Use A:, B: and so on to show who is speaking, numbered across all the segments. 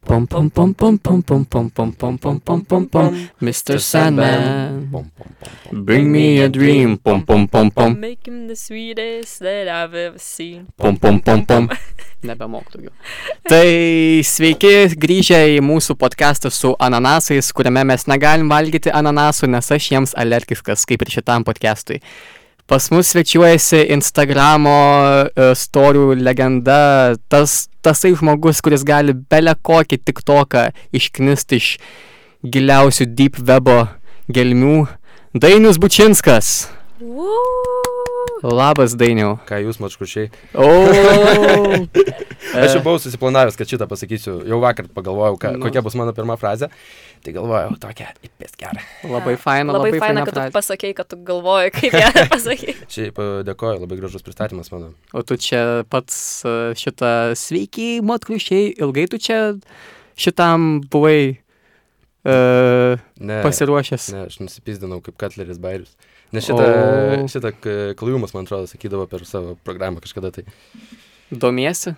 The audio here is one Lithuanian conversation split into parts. A: Pom pom pom pom pom pom pom pom pom pom pom pom pom. Mr. Sandman,
B: Bom, bom, bom, bom.
A: bring me a dream. Pom pom pom pom.
C: Make him the sweetest that I've ever seen.
A: Pom pom pom pom. Nebemok daugiau. Tai sveiki grįžę į mūsų podcastą su ananasais, kuriame mes negalim valgyti ananasų, nes aš jiems alergiškas, kaip ir šitam podcastui. Pas mus svečiuojasi Instagramo e, storių legenda, tas, tasai žmogus, kuris gali belę kokį tik toką išknisti iš giliausių deep webo gelmių. Dainius Bučinskas.
C: Woo!
A: Labas, Dainiau.
B: Ką jūs, mačkušiai?
A: O. E.
B: Aš jau buvau susiplanavęs, kad šitą pasakysiu. Jau vakar pagalvojau, ka,
A: Nu.
B: kokia bus mano pirma frazė. Tai galvojau, tokia, įpės gerą.
A: Labai faina,
C: Labai, labai faina, kad tu pasakei, kad tu galvoji, kaip ją pasakei.
B: Šiaip e, dėkoju, labai gražus pristatymas mano.
A: O tu čia pats e, šitą sveiki, matkliušiai, ilgai tu čia šitam buvai uh,
B: Ne,
A: pasiruošęs.
B: ne, aš nusipizdenau kaip Katleris Bairius. Nes šitą,
A: O.
B: šitą k- klajumas, man atrodo, sakydavo per savo programą kažkada tai.
A: Domiesi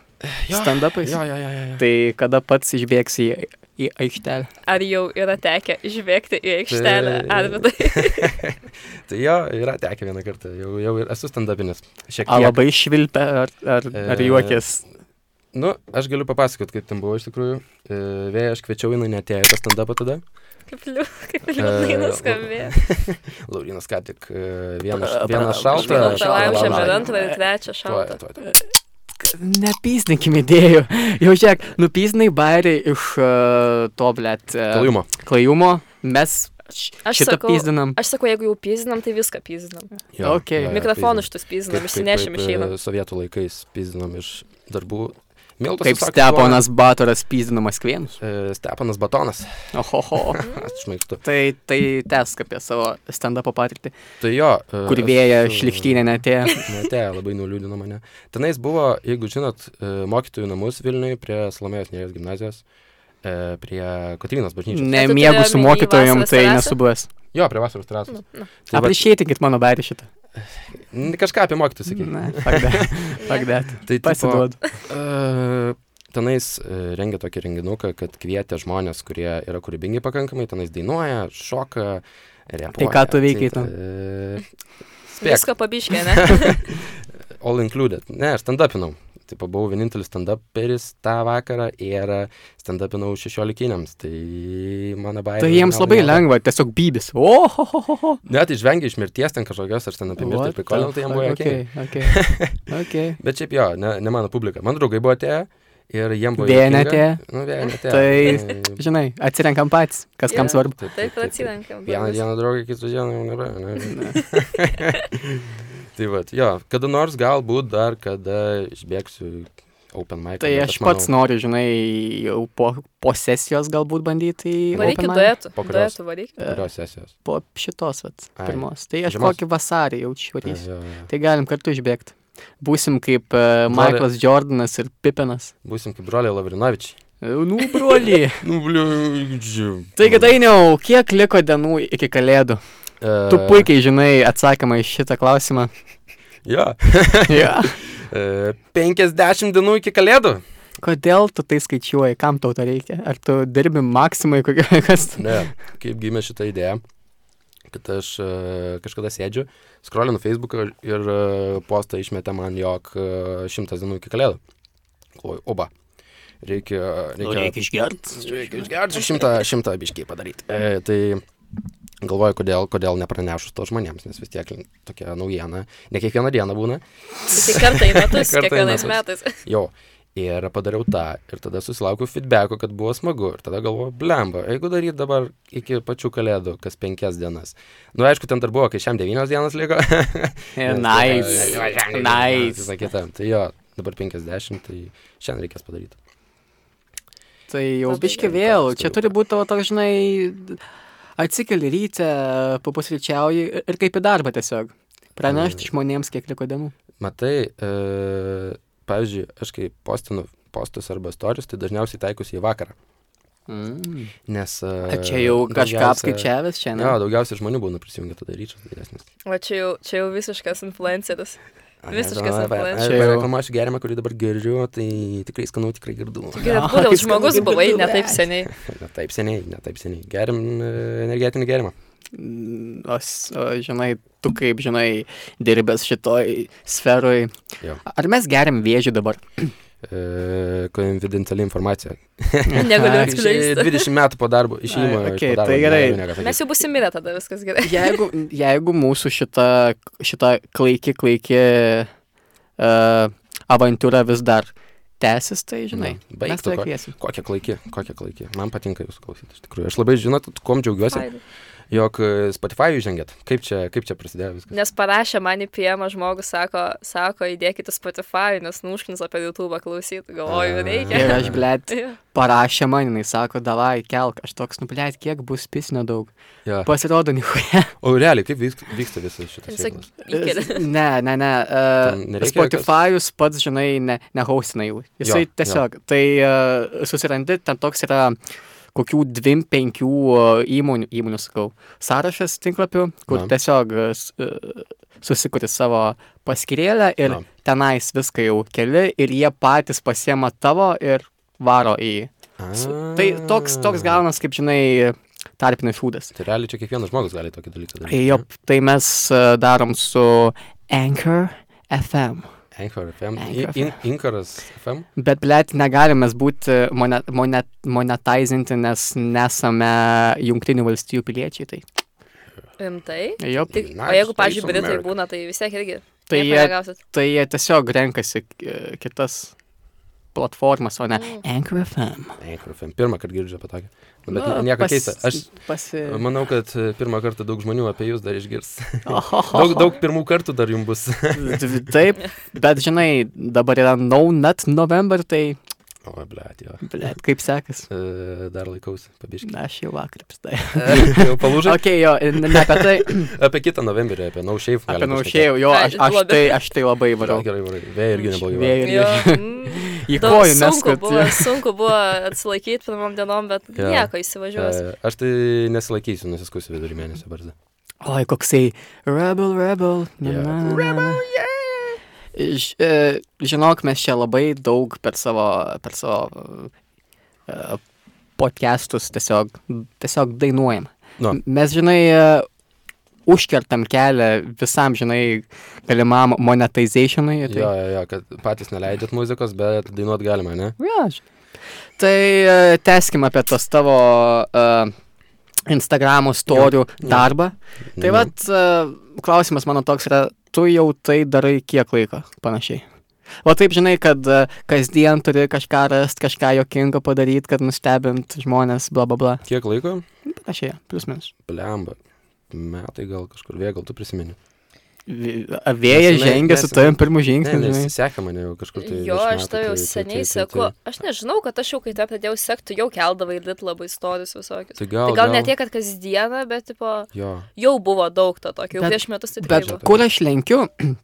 A: stand-upais?
B: Jo, jo, jo, jo. jo.
A: Tai kada pats išbėgsi į, į aikštelę?
C: Ar jau yra tekę žvėgti į aikštelę,
B: Tai-
C: ar vidai?
B: Tai jo, yra tekę vieną kartą, jau, jau ir esu standupinis.
A: A
B: Šiek tiek.
A: labai švilpia ar, ar, ar
B: E,
A: juokės?
B: Nu, aš galiu papasakot, kaip ten buvo iš tikrųjų. E, Vėja, aš kviečiau, jinai netėjo į tą stand-upą tada.
C: Kaip liū- kaip liūdnai
B: E,
C: nuskambėjo.
B: Laurinas ką tik e, vieną,
A: Pra-
B: vieną
A: pra-
B: šaltą.
A: pra-
B: šaltą
C: Šalajam
A: šaltą
C: šiam ir
A: laužą.
B: laužą.
C: antrą, ir trečią
B: Tuoj,
C: šaltą.
B: tuoj, tuoj.
A: Nepysninkim idėjų. Jau žiūrėk, nupysnai bairį iš uh, to, blėt, uh,
B: Kalumo.
A: klajumo. Mes š-
C: Aš
A: šitą
C: sakau-
A: pysninam.
C: Aš sakau, jeigu jau pizinam, tai viską pizinam.
A: Okei. Jo,
C: Mikrofonus šitus pizinam, išsinešim išeinam.
B: e, Sovietų laikais pizdinom iš darbų. Miltas
A: Kaip
B: užsako
A: Steponas Batoras pyzdinamas kvienus.
B: tuo- E, Stepanas Batonas.
A: Ohoho.
C: Mhm.
B: Aš šmaikstu.
A: Tai, tai tesk apie savo stand-up patirtį,
B: Tai jo. e,
A: kur vėja
B: esu-
A: šlikštynė netėjo.
B: Netėjo, labai nuliūdino mane. Tenais buvo, jeigu žinot, e, mokytojų namus Vilniui prie Slomėjos Nėrės gimnazijos, e, prie Kotrynos bažnyčios.
A: Nemiegu su
C: omeny
A: mokytojom,
C: vasaros
A: tai
C: terasą?
A: nesubuvęs.
B: Jo, prie vasaros terasos.
C: Nu, nu.
B: Tai vat-
A: Aprašykit mano berį šitą.
B: N- Kažką apie mokytus sakyti.
A: Ne, pagdėt. Pagdėt.
B: Tai tipo,
A: Pasiduodu.
B: e, Tenais e, rengia tokį renginuką, kad kvietė žmonės, kurie yra kūrybingi pakankamai, tenais dainuoja, šoka, e, repuoja.
A: Tai ką tu veikei ten?
B: ten? Spėk,
C: Viską pabiškė, ne?
B: all included. Ne, aš stand-upinau. Tai buvau vienintelis stand-uperis tą vakarą ir stand-upinau šešiolikiniams. Tai mano baimė.
A: Tai jiems labai lengva, tiesiog bybis. Ohohoho.
B: Net išvengia iš mirties ten kažkokios, ar ten apie mirtį prikolinau, tai jam buvo jokie.
A: jokia.
B: Okay.
A: Okei.
B: Bet šiaip jo, ne, ne mano publika. Man draugai buvo atėję ir jiem buvo...
A: Vėja
B: juokinga.
A: neatėjo?
B: Nu, vėja netėjo.
A: Tai- Žinai, atsirenkam patys, kas kam
C: Jo.
A: svarbu.
C: Taip, atsirenkam.
B: Vieną dieną draugai, kitą dieną jau nėra. Ne? tai va, jo, kada nors galbūt dar, kada išbėgsiu į open mic.
A: Tai
B: bet
A: aš pats
B: manau,
A: noriu, žinai, jau po, po sesijos galbūt bandyti į...
C: Varyk
A: open
C: į
A: mic.
C: duetų.
B: Po kurios?
C: Duetų varyk.
A: E,
B: Kurios sesijos?
A: Po šitos, vat,
B: Ai.
A: pirmos. Tai aš
B: Žiemos?
A: kokį vasarį jaučiu.
B: Tai,
A: rysiu.
B: jo, jo.
A: Tai galim kartu išbėgti. Būsim kaip uh,
B: Broli.
A: Michaelas Jordanas ir Pipinas.
B: Būsim kaip broliai Lavrinovičiai.
A: E, Nu, broli.
B: Nu, bliūdžiu.
A: Taigi, Dainiau, kiek liko dienų iki kalėdų? Tu puikiai žinai atsakymą į šitą klausimą.
B: Jo.
A: ja.
B: E, 50 dienų iki kalėdų.
A: Kodėl tu tai skaičiuoji, kam tau to reikia? Ar tu dirbi maksimai, kokie kas?
B: Ne, kaip gimė šitą idėją, kad aš e, kažkada sėdžiu, skrolinu Facebooką ir e, postą išmetė man, jog e, šimtas dienų iki kalėdų. Oi, oba. Reikia, e, reikia,
A: išgerti.
B: reikia išgerti šimtą, šimtą biškiai padaryti. E, tai galvoju, kodėl, kodėl nepranešus to žmonėms, nes vis tiek tokia naujiena, ne kiekvieną dieną būna.
C: Tai kartą į metus,
B: Kartą į
C: kiekvienais
B: metus.
C: metais.
B: Jo. Ir padariau tą. Ir tada susilaukiau feedbacko, kad buvo smagu. Ir tada galvoju, blemba, jeigu daryt dabar iki pačių kalėdų, kas penkias dienas. Nu, aišku, ten dar buvo, kai šiam devynios dienos liko.
A: Nice. Nice.
B: Visą kitą. Tai jo, dabar penkiasdešimt, tai šiandien reikės padaryti.
A: Tai jau
C: Labai
A: biški
B: gerai,
A: vėl,
B: toks
A: čia
B: turiu.
A: turi būti tavo toks, žinai, atsikeli ryte, papusryčiauji ir- ir kaip į darbą tiesiog.
B: Mm.
A: Pranešti žmonėms, kiek liko dienų.
B: Matai, e, pavyzdžiui, aš kai postinu postus arba storius, tai dažniausiai taikusi į vakarą.
A: Mm.
B: Nes... E,
A: Ar čia jau kažką
B: daugiausia-
A: apskaičiavęs
B: Jo,
A: šiandien?
B: daugiausiai žmonių būna prisijungę tada ryčius didesnis.
C: Va čia jau, čia jau visiškas influenceris. Visiškas influenceris.
A: Čia jau-
B: Reklamuosiu gerimą, kurį dabar geriu, tai tikrai skanu, tikrai girdu.
C: Tikrai,
A: Jo,
C: būdavo
A: jis
C: žmogus
A: galvoja,
C: buvai
A: kad
C: ne
A: du
C: taip
A: bet.
C: seniai.
B: Ne taip seniai, ne taip seniai. Gerim e, energetinį gerimą.
A: Mm, O, s- o, žinai, tu kaip, žinai, dirbęs šitoj sferoj.
B: Jo.
A: Ar mes geriam vėžį dabar?
B: E, Konfidenciali informacija.
C: Negaliu
A: Aha.
B: Išė-
C: atskleisti.
B: 20 metų po darbo, išėjimo.
A: Ai,
B: iš
A: okei,
B: po darbo
A: tai gerai.
B: negaliu nieko sakyt.
C: Mes jau busim mirę tada, viskas gerai.
A: Jeigu, jeigu mūsų šita, šita klaiki, klaiki uh, avantūra vis dar tęsis, tai, žinai,
B: Nu,
A: no,
B: baik
A: mes
B: tu,
A: to
B: ko-
A: kviesim.
B: Kokia klaiki, kokia klaiki. Man patinka jūsų klausyti, iš tikrųjų. Aš labai žinot, kuom džiaugiuosi,
C: Fainai.
B: jog e, Spotify žengėt. Kaip čia, kaip čia prasidėjo viskas?
C: Nes parašė man į PM žmogus, sako, sako, įdėkit į Spotify, nes nuškins apie YouTube klausyt, galvoju,
B: A.
C: reikia.
A: Ir aš, blėt,
C: Jo.
A: parašė man, jinai sako, davai, kelk, aš toks, nu, blėt, kiek bus pisnio daug.
B: Ja.
A: Pasirodo, nihuja.
B: O realiai, kaip vyks- vyksta visas šitas
C: Tiesiog
B: reikalas?
C: įkeli.
A: Ne, ne, ne.
B: Ten
A: Uh,
B: nereikia
A: Spotify'us pats, žinai, ne, nehausina jų. Jisai
B: Jo,
A: jo, tiesiog, jo. tai uh, susirandi, ten toks yra kokių dviem, penkių uh, įmonių, įmonių, sakau, sąrašas tinklapių, kur
B: Na.
A: Na. tiesiog uh, s- uh, susikuri savo paskirėlę ir
B: Na.
A: Na. tenais viską jau keli ir jie patys pasiema tavo ir varo į. S- Tai toks, toks gaunas, kaip žinai, tarpinis šūdas.
B: Tai realiai čia kiekvienas žmogus gali tokį dalyką daryti.
A: Jo, tai mes e, darom su Anchor FM.
B: Anchor FM.
A: Anchor
B: I- in- Inkaras FM.
A: Bet, blėt, negalime mes būti monet, monet, monetizinti, nes nesame jungtinių valstybių piliečiai. Tai,
C: Rimtai?
A: jo,
C: Tik, o
B: United
C: jeigu, pažiūrėjau,
B: States of
C: britai
B: America.
C: būna, tai vis tiek irgi.
A: Tai
C: nieko
A: jie-
C: negausit.
A: tai jie tiesiog renkasi e, kitas platformas, o ne
B: Mhm.
C: Mm.
A: Anchor FM.
B: Anchor FM. Pirmą kartą girdžiu apie tokį. Nu, Bet no, nieko keista. Aš
A: Pasi...
B: manau, kad e, pirmą kartą daug žmonių apie jūs dar išgirs.
A: Ohoho.
B: Daug, daug pirmų kartų dar jums bus.
A: D- Taip, bet žinai, dabar yra No Nut November, tai,
B: O, blėt, jo.
A: blėt, kaip sekas.
B: E, Dar laikausi, pabiškiai.
A: Na, aš jau vakar pristai.
B: Jau palūžau.
A: Ok, jo, ne ne apie tai.
B: Apie kitą novembrį, apie naušėjų.
A: Apie naušėjau, jo,
C: Ai,
A: aš, aš,
C: duoda.
A: tai, aš tai labai varau.
B: Gerai, gerai, gerai. Vėja irgi neblogai.
A: Vėjo
B: varo.
A: tai irgi.
C: Jo, mm,
A: Į
C: daug
A: kojų
C: sunku,
A: neskat.
C: buvo, sunku buvo atsilaikyti pirmam dienom, bet
B: Jo.
C: nieko įsivažiuosiu.
B: E, Aš tai nesilaikysiu, nusiskusiu vidurį mėnesio barzdą.
A: Oi, koksai Rebel, Rebel. Na,
B: Yeah.
A: na, na, na. Ž, e, žinok, mes čia labai daug per savo, per savo e, podcastus tiesiog, tiesiog dainuojam.
B: Nu,
A: M- Mes, žinai, e, užkertam kelią visam, žinai, galimam monetizationui.
B: jo,
A: Tai,
B: jo, jo, kad patys neleidžiat muzikos, bet dainuot galima, ne?
A: Jo, aš. Tai e, tęskim apie tas tavo uh, Instagramo storių
B: jo.
A: darbą. Tai
B: Nu,
A: vat, e, klausimas mano toks yra, tu jau tai darai kiek laiko panašiai? O taip žinai, kad e, kasdien turi kažką rasti, kažką jokingo padaryti, kad nustebint žmonės, bla bla bla.
B: Kiek laiko?
A: Nu, Panašiai, plius minus.
B: Blemba. Metai gal kažkur vėja, gal tu prisimeni.
A: Vi- a, Vėjas
B: Nes jinai-
A: žengia
B: nes-
A: su tavim pirmų
B: Ne,
A: žingsnių, žinai.
B: nes seka mane jau kažkur tai.
C: Jo,
B: virš
C: aš
B: metų,
C: tau jau
B: tai- tai-
C: seniai
B: tai- tai-
C: seku.
B: tai-
C: Aš nežinau, kad aš jau kai tą pradėjau sekti, jau keldavai lit labai istorijas visokius.
B: Tai gal,
C: Tai gal ne tiek, kad kasdieną, bet tipo,
B: Jo,
C: jau buvo daug to tokio, jau
A: Bet-
C: prieš metus tai tikrai
A: Bet
B: Taip,
C: buvo.
B: taip.
A: kur aš lenkiu,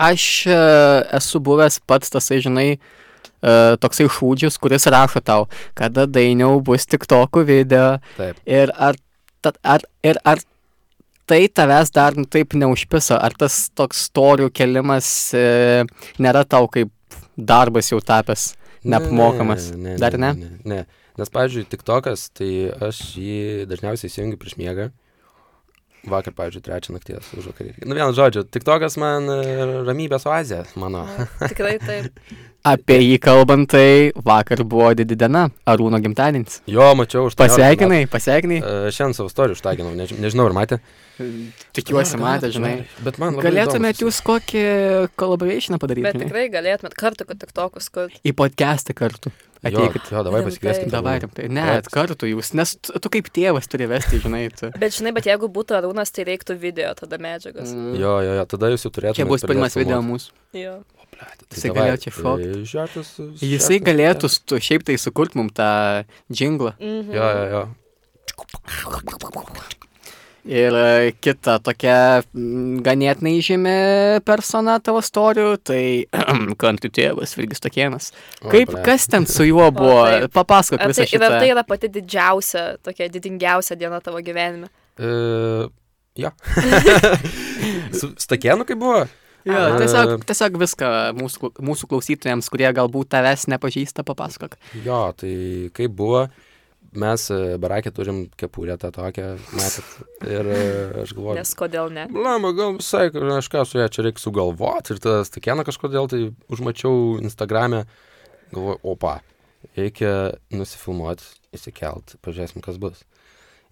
A: aš e, esu buvęs pats tasai, žinai, e, toksai šūdžius, kuris rašo tau, kada dainiau bus tik tokų video
B: taip.
A: ir ar, ta, ar, ir ar tai tavęs dar nu taip neužpisa, ar tas toks storių kelimas e, nėra tau kaip darbas jau tapęs. Neapmokamas.
B: Ne, ne,
A: Dar ne?
B: Ne, ne, ne. Nes, pavyzdžiui, TikTokas, tai aš jį dažniausiai įsijungiu prieš miegą. Vakar, pavyzdžiui, trečią nakties už vakarį. Nu, vienas žodžiu, TikTokas man e, ramybės oazė, mano.
C: Nu, Tikrai taip.
A: Apie jį kalbant, tai vakar buvo didi diena, Arūno gimtadienis.
B: Jo, mačiau už E,
A: Pasveikinai, pasveikinai.
B: Šiandien savo istoriją užtaginau, neži nežinau, ar matė.
A: Tikiuosi,
B: Gal-
A: matė,
B: gal-
A: žinai.
B: Bet man labai
A: Galėtumėt
B: įdomus
A: jūs kokį kolaborationą padaryti?
C: Bet
A: žinai?
C: tikrai galėtumėt kartu, kad tik tokus, kad...
A: Į podcastą kartu.
B: jis.
A: Ateikit.
B: Jo, jo davai
C: Rimtai.
B: pasikvieskit.
A: Davai, rimtai. Ne,
B: Vat.
A: kartu jūs, nes tu tu kaip tėvas turi vesti, žinai, tu.
C: Bet žinai, bet jeigu būtų Arūnas, tai reiktų video tada medžiagos. Mm.
B: Jo, jo, jo, tada jūs jau turėtumėte.
A: Čia bus pirmas video mūsų.
C: Jo.
B: Tai
A: Jisai galėjo čia šokt.
B: Žiūrėtas.
A: Jisai galėtų tu šiaip tai sukurti mums tą džinglą.
C: Mhm.
B: Jo, jo, jo.
A: Ir e, kita tokia mm, ganėtinai žymi persona tavo storių, tai kantų tėvas Virgis Tokienas.
B: O,
A: Mhm. Kaip,
B: blet.
A: kas ten su juo buvo?
C: taip.
A: Papasakok
C: Ar
A: visą
C: tai, ir ar tai
A: šitą.
C: yra pati didžiausia, tokia didingiausia diena tavo gyvenime?
B: E, jo. Su stakenu kaip buvo?
A: Jo,
B: E,
A: tiesiog, tiesiog viską mūsų, klu- mūsų klausytojams, kurie galbūt tavęs nepažįsta, papasakok.
B: Jo, tai kaip buvo, mes e, barakė turim kepurę tą tokią, matot. Ir e, aš galvoju,
C: Nes kodėl ne?
B: Blama, gal visai kažką su ją čia reikia sugalvoti ir tada stikena kažkodėl, tai užmačiau Instagram'e, galvoju, opa, reikia nusifilmuoti, įsikelt, pažiūrėsim, kas bus.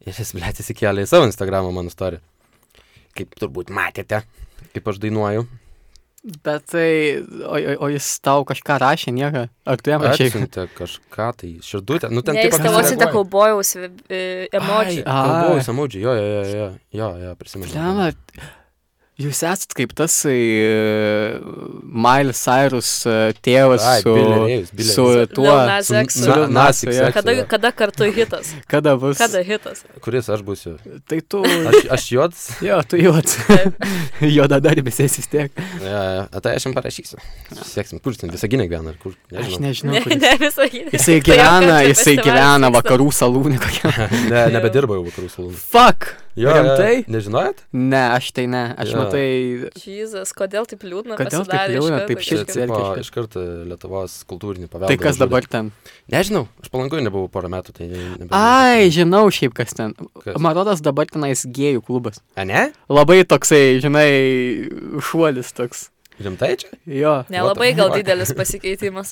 B: Ir jis, blė, įsikelia į savo Instagram'ą mano istoriją. Kaip turbūt matėte, kaip aš dainuoju.
A: Bet tai, o, o, o jis tau kažką rašė, nieko. Ar tu jam rašai?
B: Atsiuntė kažką, tai širdutė, nu ten
C: Ne,
B: taip
C: jis
B: aš
C: tavo atsitė
A: nesureaguoji.
B: nereaguoju.
C: kaubojaus e, emocijų.
A: Ai.
B: Kalbau, samudžiai, jo, jo, jo, jo, jo, jo prisimenu.
A: Pliama, jūs esat kaip tas e, Miles Cyrus e, tėvas
B: Ai,
A: su,
B: Billy Reyes, Billy
A: su
B: Reyes.
A: tuo.
C: Lil Nas X.
A: su Lil
B: Na-
A: Nas
B: Nas
A: X,
B: X,
A: jo.
B: X.
C: Kada, kada kartu hitas?
A: Kada bus?
C: Kada hitas?
B: Kuris aš būsiu?
A: Tai tu.
B: Aš, aš juodas?
A: Jo, tu juot. Joda dar visais vis tiek.
B: Ja, a tai aš jam parašysiu. Sieksim, kur jis ten visą gynę gyvena, ar kur.
A: Aš
B: Nežinau.
A: nežinau.
C: Ne,
A: kur jis-
C: ne visą hitą.
A: Nu, Jisai
C: Tai jo, kad
A: gyvena,
C: čia
A: jisai
C: festivalis
A: gyvena
C: vyksta.
A: vakarų salūnį kokią.
B: Ne, nebedirba jau vakarų salonų.
A: Fuck! Rimtai?
B: Nežinojot?
A: Ne, aš tai ne. Aš
B: Jo.
A: matai.
C: Jesus, kodėl taip liūdna?
A: Kodėl taip
C: pasidarė iš
A: liūdna,
C: karto
A: taip
B: Čia
A: Šiaip
C: kažkaip?
B: tipo,
A: cirkiškai.
B: iš karto Lietuvos kultūrinį paveldą.
A: Tai kas
B: nužudė.
A: dabar ten?
B: Nežinau, aš palankoju nebuvau porą metų, tai ne, nebežinau.
A: Ai, žinau šiaip kas ten.
B: Kas?
A: Marodas dabar tenais gėjų klubas.
B: A ne?
A: Labai toksai, žinai, šuolis toks.
B: Rimtai čia?
A: Jo.
C: Nelabai
B: What the
C: gal
B: fuck?
C: didelis pasikeitimas.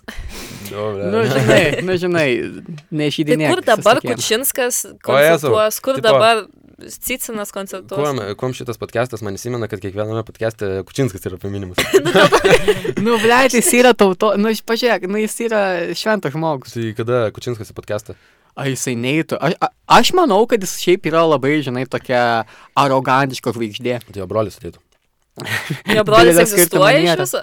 B: Jo, ble.
A: Nu, žinai, nu, žinai,
C: Tai
A: nežydinė.
C: kur dabar Kučinskas koncertuos, kur
B: tipo-
C: dabar Cicinas koncertuos?
B: Kuom, kuom šitas podcastas man įsimena, kad kiekviename podcast'e Kučinskas yra paminimas. Tai
A: Nu, bleit, jis yra tauto, nu, iš- pažiūrėk, nu, jis yra šventas žmogus.
B: tai kada Kučinskas į podcast'ą?
A: Ar jisai neitų? Aš, a, aš manau, kad jis šiaip yra labai, žinai, tokia arogantiška žvaigždė.
B: Tai jo brolis ateitų.
C: Jo brolis
A: Didelio skirtumo
C: egzistuoja iš
A: nėra.
C: viso?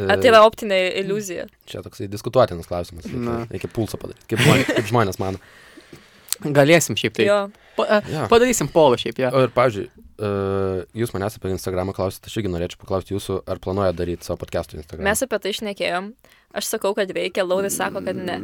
B: E,
C: Ar tai yra optinė iliuzija?
B: Čia toksai diskutuotinas klausimas. Reikia,
A: Na.
B: reikia pulso padaryti. Kaip, žmonės- kaip žmonės mano.
A: Galėsim šiaip tai.
C: Jo.
A: Pa,
B: Jo.
A: a, padarysim polo šiaip, jo.
B: O ir, pavyzdžiui, e, jūs manęs apie Instagramą klausėte, aš irgi norėčiau paklausti jūsų, ar planuojate daryti savo podcast'ų Instagram.
C: Mes apie tai išnekėjom. Aš sakau, kad reikia, Lauris sako, kad ne.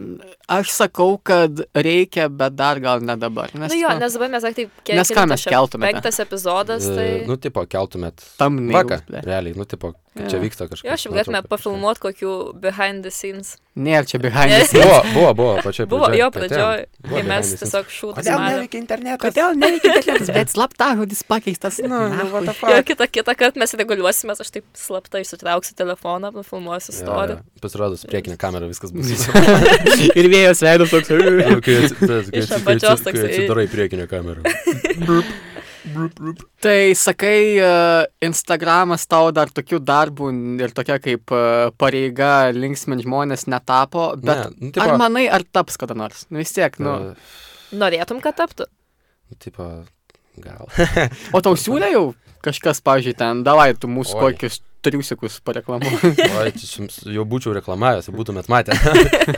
A: Aš sakau, kad reikia, bet dar gal ne dabar. Nu Nes,
C: Na Nu jo, nes dabar mes, sakai, taip,
A: Nes ką mes keltumėte?
C: Penktas epizodas, tai...
B: Nu, tipo, keltumėt.
A: Tam
B: Vaka,
A: neįvaka.
B: realiai, nu, tipo, kad čia
A: Jo.
B: vyksta kažkas.
C: Jo, šiaip
B: nuotrauka
C: galėtume
B: kažkas.
C: pafilmuoti kokių behind the scenes.
A: Nėra čia behind.
C: Ne.
A: the scenes.
B: Buvo, buvo, buvo, pačioj
C: Buvo
B: pradžioj.
C: jo
B: Pati-
C: pradžioj,
B: buvo
C: kai mes
B: behind the scenes.
C: tiesiog šūtus matėme.
B: internetas?
A: Kodėl nereikia dekletas, bet slaptažodis pakeistas. Na,
B: what the
C: Jo, kitą, kitą kartą mes reguliuosimės, aš taip slapta išsitrauksiu telefoną, nufilmuosiu
B: Jo,
C: istoriją.
B: jo. Pasirodo, su priekinė kamera viskas bus.
A: Ir vėjas veido toks.
B: Jau, kai atsi- tas- kai
C: Iš
B: atsi- kai
C: apačios
B: atsi-
C: toksai.
B: kai Atsidarai priekinę kamerą.
A: Tai sakai, e, Instagramas tau dar tokių darbų ir tokia kaip e, pareiga linksmin žmonės netapo, bet
B: Ne, nu,
A: ne,
B: tipo,
A: ar manai, ar taps kada nors? Nu vis tiek, nu.
B: e,
C: Norėtum, kad taptų?
B: nu, Tipo, gal.
A: O tau siūlė jau kažkas, pavyzdžiui, ten, davai tu mūsų
B: Oi.
A: kokius triusikus pareklamu.
B: Oi, čia jums jau būčiau reklamavęs, jau būtumėt matę.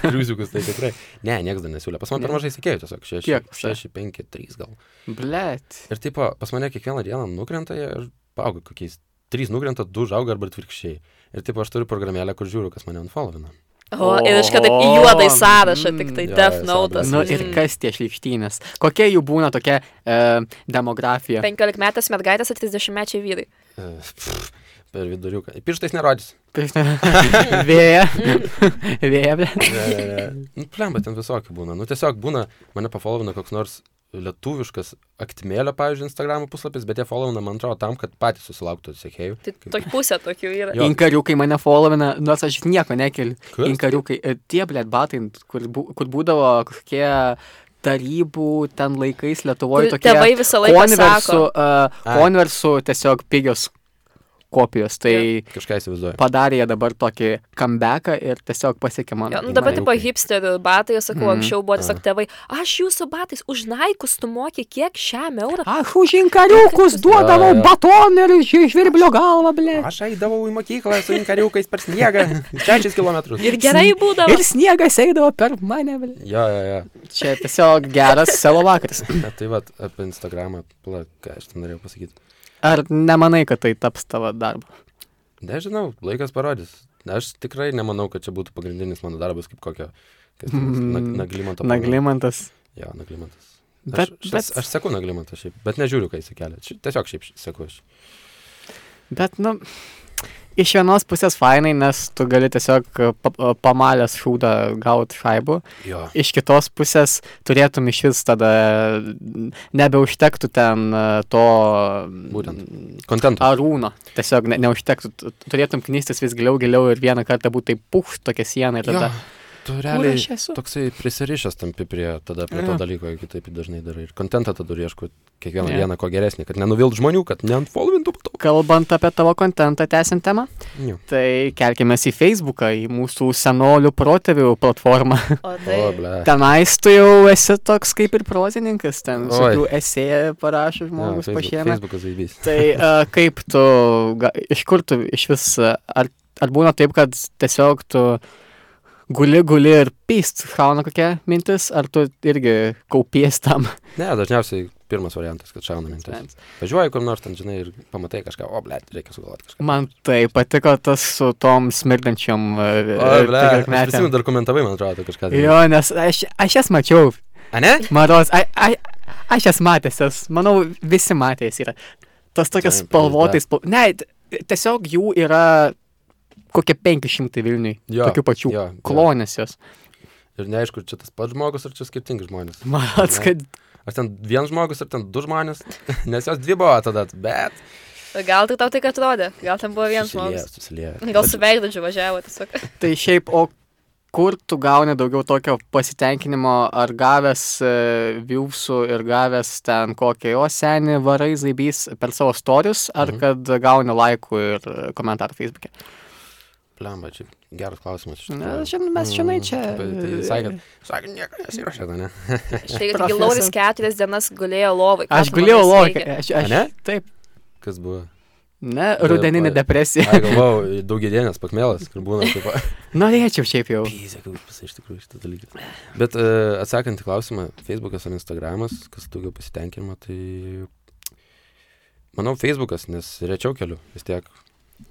B: Triusiukus tai tikrai. Ne, niekas dar nesiūlė. Pas mane per
A: Ne.
B: mažai sekėjų tiesiog.
A: Kiek?
B: 6, 5, 3 gal.
A: Blet.
B: Ir taip, pas mane kiekvieną dieną nukrenta jie ir auga kokiais. 3 nukrenta, 2 žauga arba atvirkščiai. Ir taip, aš turiu programėlę, kur žiūriu, kas mane unfollowina.
C: O, ir iš kada į
A: Oho.
C: juodą į sąrašą, tik tai
B: Mm.
C: Death
B: Jo,
C: Note.
B: Tas-
A: Nu ir kas tie šlikštynės? Kokia jų būna tokia e, demografija?
C: 15 metas mergaitės ir 30 mečiai vyrai.
B: E, pff, Per viduriuką. Pirštais nerodys.
A: Vėja.
C: Mm.
A: Vėja, blet.
B: Nu, Plemba, ten visokių būna. Nu, tiesiog būna, mane pafollowina koks nors lietuviškas aktmėlio, pavyzdžiui, Instagram puslapis, bet jie followina, man atrodo, tam, kad patys susilauktų sekėjų.
C: Tai tok pusė tokių yra.
B: Jo.
A: Inkariukai mane followina, nors aš nieko nekeliu.
B: Kas?
A: Inkariukai, e, tie blėt batai, kur, bu, kur būdavo kokie tarybų ten laikais Lietuvoje
C: Kur
A: tokie.
C: tėvai visą laiką
A: konversų,
C: sako.
A: uh,
B: Ai.
A: konversų tiesiog pigios kopijos. Tai
B: Kažką įsivaizduoju.
A: padarė jie dabar tokį comebacką ir tiesiog pasiekė mano.
C: Jo, nu dabar
B: Inkariukai.
C: tipo hipsterių batai, aš sakau,
A: Mm.
C: anksčiau buvo tiesiog
B: Ah.
C: tėvai, aš jūsų batais už naikus tu moki kiek šiam eurą.
A: Aš už inkariukus duodavau
B: Jo, jo.
A: batoną ir ži- žvirblio galvą, blė.
B: Aš eidavau į mokyklą su inkariukais per sniegą. 6 km.
C: Ir gerai būdavo.
A: Ir sniegas eidavo per mane, blė.
B: Jo, jo, jo.
A: Čia tiesiog geras selo vakaras.
B: Na, tai va, apie Instagramą, pla, ką aš ten norėjau pasakyti.
A: Ar nemanai, kad tai taps tavo darbu?
B: Nežinau, laikas parodys. Aš tikrai nemanau, kad čia būtų pagrindinis mano darbas kaip kokio. kas ten bus, nag-
A: Mm,
B: Naglimanto. pana.
A: Naglimantas.
B: Jo, naglimantas.
A: Bet,
B: Aš,
A: aš,
B: aš,
A: bet,
B: aš seku naglimantą šiaip, bet nežiūriu, kai jis kelia. Tiesiog šiaip seku aš.
A: bet, nu, iš vienos pusės fainai, nes tu gali tiesiog e, pa- pamalęs šūdą gauti šaibų.
B: Jo.
A: Iš kitos pusės turėtum iš vis tada nebeužtektų ten e, to
B: Būtent. Kontento.
A: arūno. Tiesiog ne, neužtektų. Tu- tu Turėtum knystis vis giliau, giliau ir vieną kartą būtų taip puch tokia siena ir tada...
B: Jo, Tu
A: aš
B: realiai
A: esu?
B: toksai prisirišęs tampi prie, tada, prie
A: Jo.
B: to dalyko, jeigu taip dažnai darai. Ir kontentą tada ieško kiekvieną
A: Jo.
B: dieną ko geresnį, kad nenuvilt žmonių, kad neantfolvintų po to.
A: Kalbant apie tavo kontentą, tęsiant temą,
B: Jo.
A: tai kelkime į Facebooką, į mūsų senolių protėvių platformą.
C: O tai...
B: O, ble.
A: Tenais tu jau esi toks kaip ir prozininkas, ten
B: Oi.
A: visokių esėje parašo
B: Jo,
A: žmogus
B: Facebook-
A: pašėmė.
B: Facebookas žaibys.
A: Tai a, kaip tu, ga, iš kur tu iš vis, a, ar, ar būna taip, kad tiesiog tu guli, guli ir pyst, šauna kokia mintis, ar tu irgi kaupies tam?
B: Ne, dažniausiai pirmas variantas, kad šauna mintis. Važiuoji kur nors ten, žinai, ir pamatai kažką, o, ble, reikia sugalvoti kažką.
A: Man tai patiko tas su tom smirdančiom
B: O, ble, aš prisimenu,
A: mergaitėm.
B: dar komentavai, man atrodo, kažką. tai.
A: Jo, nes aš, aš jas mačiau,
B: A ne?
A: Maros, a, a, aš esu matęs, jas, manau, visi matęs yra. Tas tokias
B: Taip,
A: spalvotais, spal... ne, t- tiesiog jų yra kokie 500 Vilniui,
B: Jo,
A: tokių pačių
B: jo, jo.
A: klonės jos.
B: Ir neaišku, ar čia tas pats žmogus, ar čia skirtingi žmonės.
A: Maros,
B: Ne.
A: kad
B: Ar ten vienas žmogus, ar ten du žmonės, nes jos dvi buvo tada, bet...
C: Gal tik tau tai atrodė, gal ten buvo vienas žmogus.
B: Susilieja.
C: Gal su veidrodžiu važiavo tiesiog.
A: tai šiaip, o kur tu gauni daugiau tokio pasitenkinimo, ar gavęs e, viewsų ir gavęs ten kokį jo senį varai zaibys per savo storius, ar mhm.
B: Mhm.
A: kad gauni laikų ir e, komentarų Facebook'e.
B: Blemba, čia geras klausimas. iš
A: Na,
B: tikrųjų.
A: šiandien mes šiandien čia.
B: Tai, tai sakė, sakė, nieko nesiruošė, ne?
C: Štai
A: Profesor.
C: Giloris keturias dienas gulėjo lovai. Ką
A: Aš
C: tu
A: gulėjau
C: manai, jis
A: lokia.
C: veikia?
A: Aš, aš,
B: Ane?
A: Taip.
B: Kas buvo?
A: Ne,
B: Be-
A: rudeninė
B: oi.
A: depresija.
B: Aš galvojau, daugiedienės pakmelas, kur būna taip.
A: Norėčiau šiaip jau.
B: Pyzė, kaip jis iš tikrųjų šitą dalyką. Bet uh, atsakant į klausimą, Facebookas ar Instagramas, kas daugiau pasitenkinimo, tai manau Facebookas, nes rečiau keliu vis tiek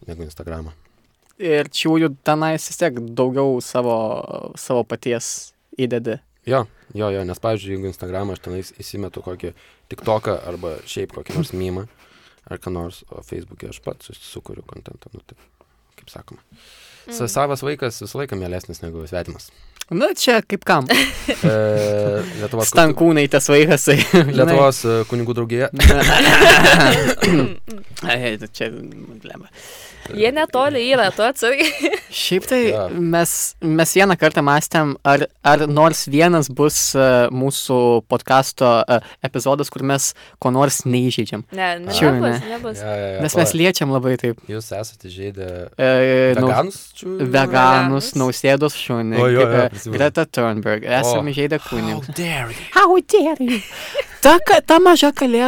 B: negu Instagramą.
A: Ir čiūjų tenais vis tiek daugiau savo, savo paties įdedi.
B: Jo, jo, jo, nes, pavyzdžiui, jeigu Instagramą aš tenais įsimetu kokį tik toką arba šiaip kokį nors mymą ar ką nors, o Facebook'e aš pats sukūriu kontentą, nu tai, kaip sakoma. Sa
A: Mm.
B: Savas vaikas visą laiką mielesnis negu svetimas.
A: Nu, čia kaip kam.
B: E, Lietuvos, kunigu-
A: Stankūnai tas vaikas. tai, žinai.
B: Lietuvos e, kunigų draugija.
A: Ai, tai čia problema.
C: Jie netoli yra, tu atsargiai.
A: Šiaip tai
B: Jo.
A: mes, mes vieną kartą mąstėm, ar, ar nors vienas bus e, mūsų podkasto e, epizodas, kur mes ko nors neįžeidžiam.
C: Ne, ne,
A: Šiaip
C: nebus,
A: ne.
C: nebus.
B: Ja, ja, ja,
A: Nes mes
B: pala.
A: liečiam labai taip.
B: Jūs esate žaidę
A: E, nau-
B: veganus? čiū-
A: veganus,
C: Veganus.
A: nausėdos šunį.
B: O, jo, jo,
A: Gre-
B: prisimenu.
A: Greta Thunberg. Esame
B: O.
A: žaidę
B: How
A: kūnį.
B: dare you?
A: How dare you? Ta, ka- ta maža kalė,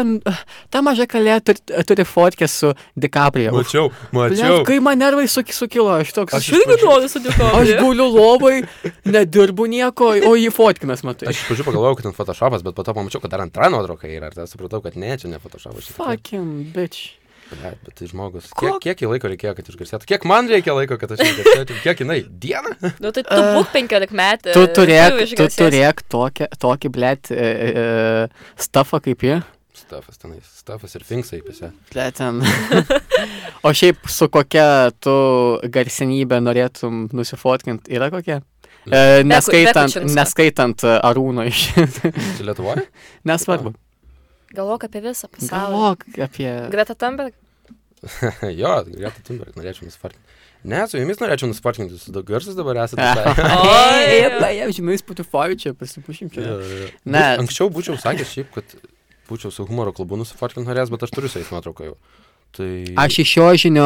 A: ta maža kalė turi, turi fotkę su DiCaprio.
B: Mačiau,
A: Blet,
B: mačiau.
A: kai man nervai suki- sukilo, aš toks.
B: Aš
A: Aš,
B: iš
C: Irgi noriu sudėkoti.
A: aš guliu lovai, nedirbu nieko, o jį fotkinas matai.
B: Aš iš pradžių pagalvojau, kad ten Photoshopas, bet po to pamačiau, kad dar antra nuotrauka yra. Ir tada supratau, kad ne, čia ne Photoshopas. čia tikrai-
A: Fucking bitch.
B: Blet, Bet tai žmogus. Kiek,
A: Ko-
B: kiek jį laiko reikėjo, kad išgarsėtų? Kiek man reikia laiko, kad aš išgarsėčiau? Kiek jinai? Dieną?
C: Nu tai tu būk 15 metų.
A: Tu turėk, tu turėk tokią, tokį, blėt, e, e, stafą kaip jie.
B: Stafas tenai. Stafas ir Finksai pise.
A: Plėtin. o šiaip su kokia tu garsinybė norėtum nusifotkinti, yra kokia?
B: Mm.
A: E, neskaitant,
C: Kučinsko.
A: neskaitant e, Arūno iš.
B: Čia Lietuvoje?
A: Nesvarbu.
C: Galvok apie visą pasaulį.
A: Galvok apie.
C: Greta Thunberg.
B: jo, Greta Thunberg, norėčiau nuspartinti. Ne, su jumis norėčiau nuspartinti, jūs daug garsus dabar esate. visai.
C: Oi.
A: Jei, žinai, Spotify čia pasipušim čia.
B: Jo, jo, jo.
A: Ne.
B: Anksčiau būčiau sakęs šiaip, kad būčiau su humoro klubu nusifartinti norėjęs, bet aš turiu su jais nuotrauką jau. Tai...
A: Aš iš jo žinio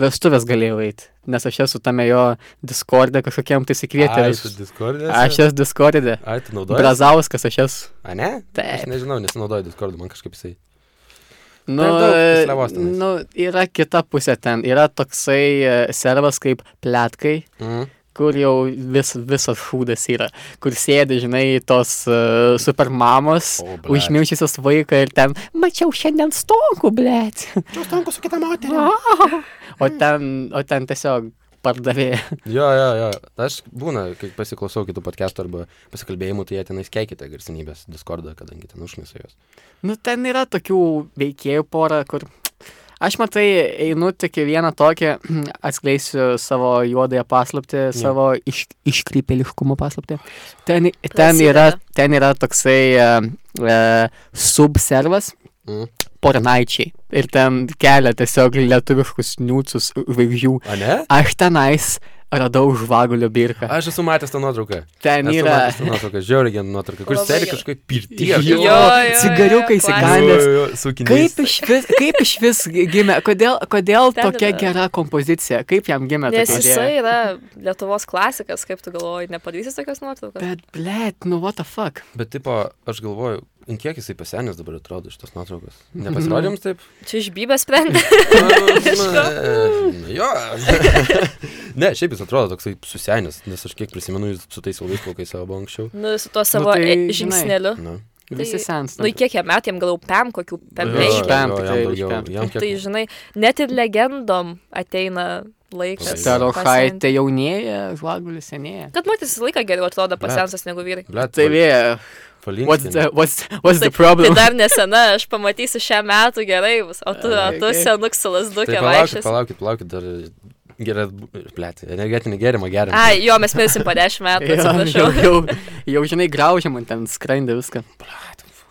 A: vestuvės galėjau eiti, nes aš esu tame jo Discord'e kažkokiam tai
B: Ai,
A: sikvietė.
B: su Discord'e.
A: Aš esu Discord'e.
B: Ai, tu naudoji.
A: Brazauskas aš esu.
B: A ne?
A: Taip.
B: Aš nežinau, nesinaudoju Discord, man kažkaip jisai.
A: Nu,
B: Per daug rislevos tenais.
A: nu, yra kita pusė ten. Yra toksai e, servas kaip plėtkai,
B: Mm.
A: kur jau vis, visas šūdas yra. Kur sėdi, žinai, tos uh, supermamos,
B: O, blet.
A: užmiaušysios vaiką ir ten, mačiau šiandien stonkų, blėt.
B: Čia užtanku su kita moterimi.
A: O ten, o ten tiesiog pardavė.
B: Jo, jo, jo. Aš būna, kai pasiklausau kitų podcastų arba pasikalbėjimų, tai jie tenais keikite garsinybės Discordą, kadangi ten užmisa jos.
A: Nu, ten yra tokių veikėjų pora, kur... Aš matai, einu tik į vieną tokį, atskleisiu savo juodąją paslapti, savo iš, iškrypeliškumo paslapti. Ten, ten,
C: Prasideda.
A: yra, ten yra toksai uh, uh, subservas
B: Mm.
A: porinaičiai. Ir ten kelia tiesiog lietuviškus niūcus žvaigždžių.
B: A ne?
A: Aš tenais radau žvagulio birką.
B: Aš esu matęs tą nuotrauką.
A: Ten
B: Esu
A: yra...
B: matęs tą nuotrauką, žiauriai gena nuotrauką, kuris
C: Labai
B: sėdi
C: gera.
B: kažkaip pirtyje.
C: Jo, jo, jo,
A: cigariukai
C: klasika.
A: įsikandęs.
B: su kiniais.
A: Kaip iš, vis, kaip iš vis gi- gimė, kodėl, kodėl
C: Ten
A: tokia
C: yra.
A: gera kompozicija, kaip jam gimė
B: tai
C: Nes
A: tokia idėja?
C: jisai yra Lietuvos klasikas, kaip tu galvoji, nepadarysi tokios nuotraukos?
A: Bet, blėt, nu what the fuck.
B: Bet, tipo, aš galvoju, ant kiek jisai pasenęs dabar atrodo šitas nuotraukas. Nepasirodėms taip?
C: Čia iš bybės sprendė.
B: Mhm. Na, na, na, jo. ne, šiaip jis atrodo toksai susenęs, nes aš kiek prisimenu, jis su tais ilgais plaukais savo buvo anksčiau.
C: Nu, su tuo savo
A: tai,
C: e-
A: žinai.
C: žingsneliu.
B: Na.
A: Visi sensta.
C: Nu, į kiek jam metėm, gal jau pem kokių pem
A: Jo,
C: penkių.
A: pem,
B: jo, jam
A: tikrai
B: daugiau,
A: pem.
B: jam kiek-
C: Tai žinai, net ir legendom ateina laikas. pasent-
A: Starohaitė jaunėja, žvagulis senėja.
C: Kad moteris visą laiką geriau atrodo
B: Blet.
C: pasensus negu vyrai.
B: Blet,
A: Tai vėja, what's
B: palinkstinė.
A: the, what's, what's the
C: Tai- Tai
A: problem?
C: dar nesena, aš pamatysiu šią metų gerai, bus, o tu, o tu
A: Okei.
C: senuksalas
B: Tai
C: dukė vaikščias.
B: palaukit, palaukit, palaukit, dar gerai, blėt, energetinį gėrimą geriam.
C: Ai, jo, mes mirsim po dešimt metų,
A: Jo,
C: atsiprašau.
A: jau, jau, jau, žinai, graužia man ten skrandį viską.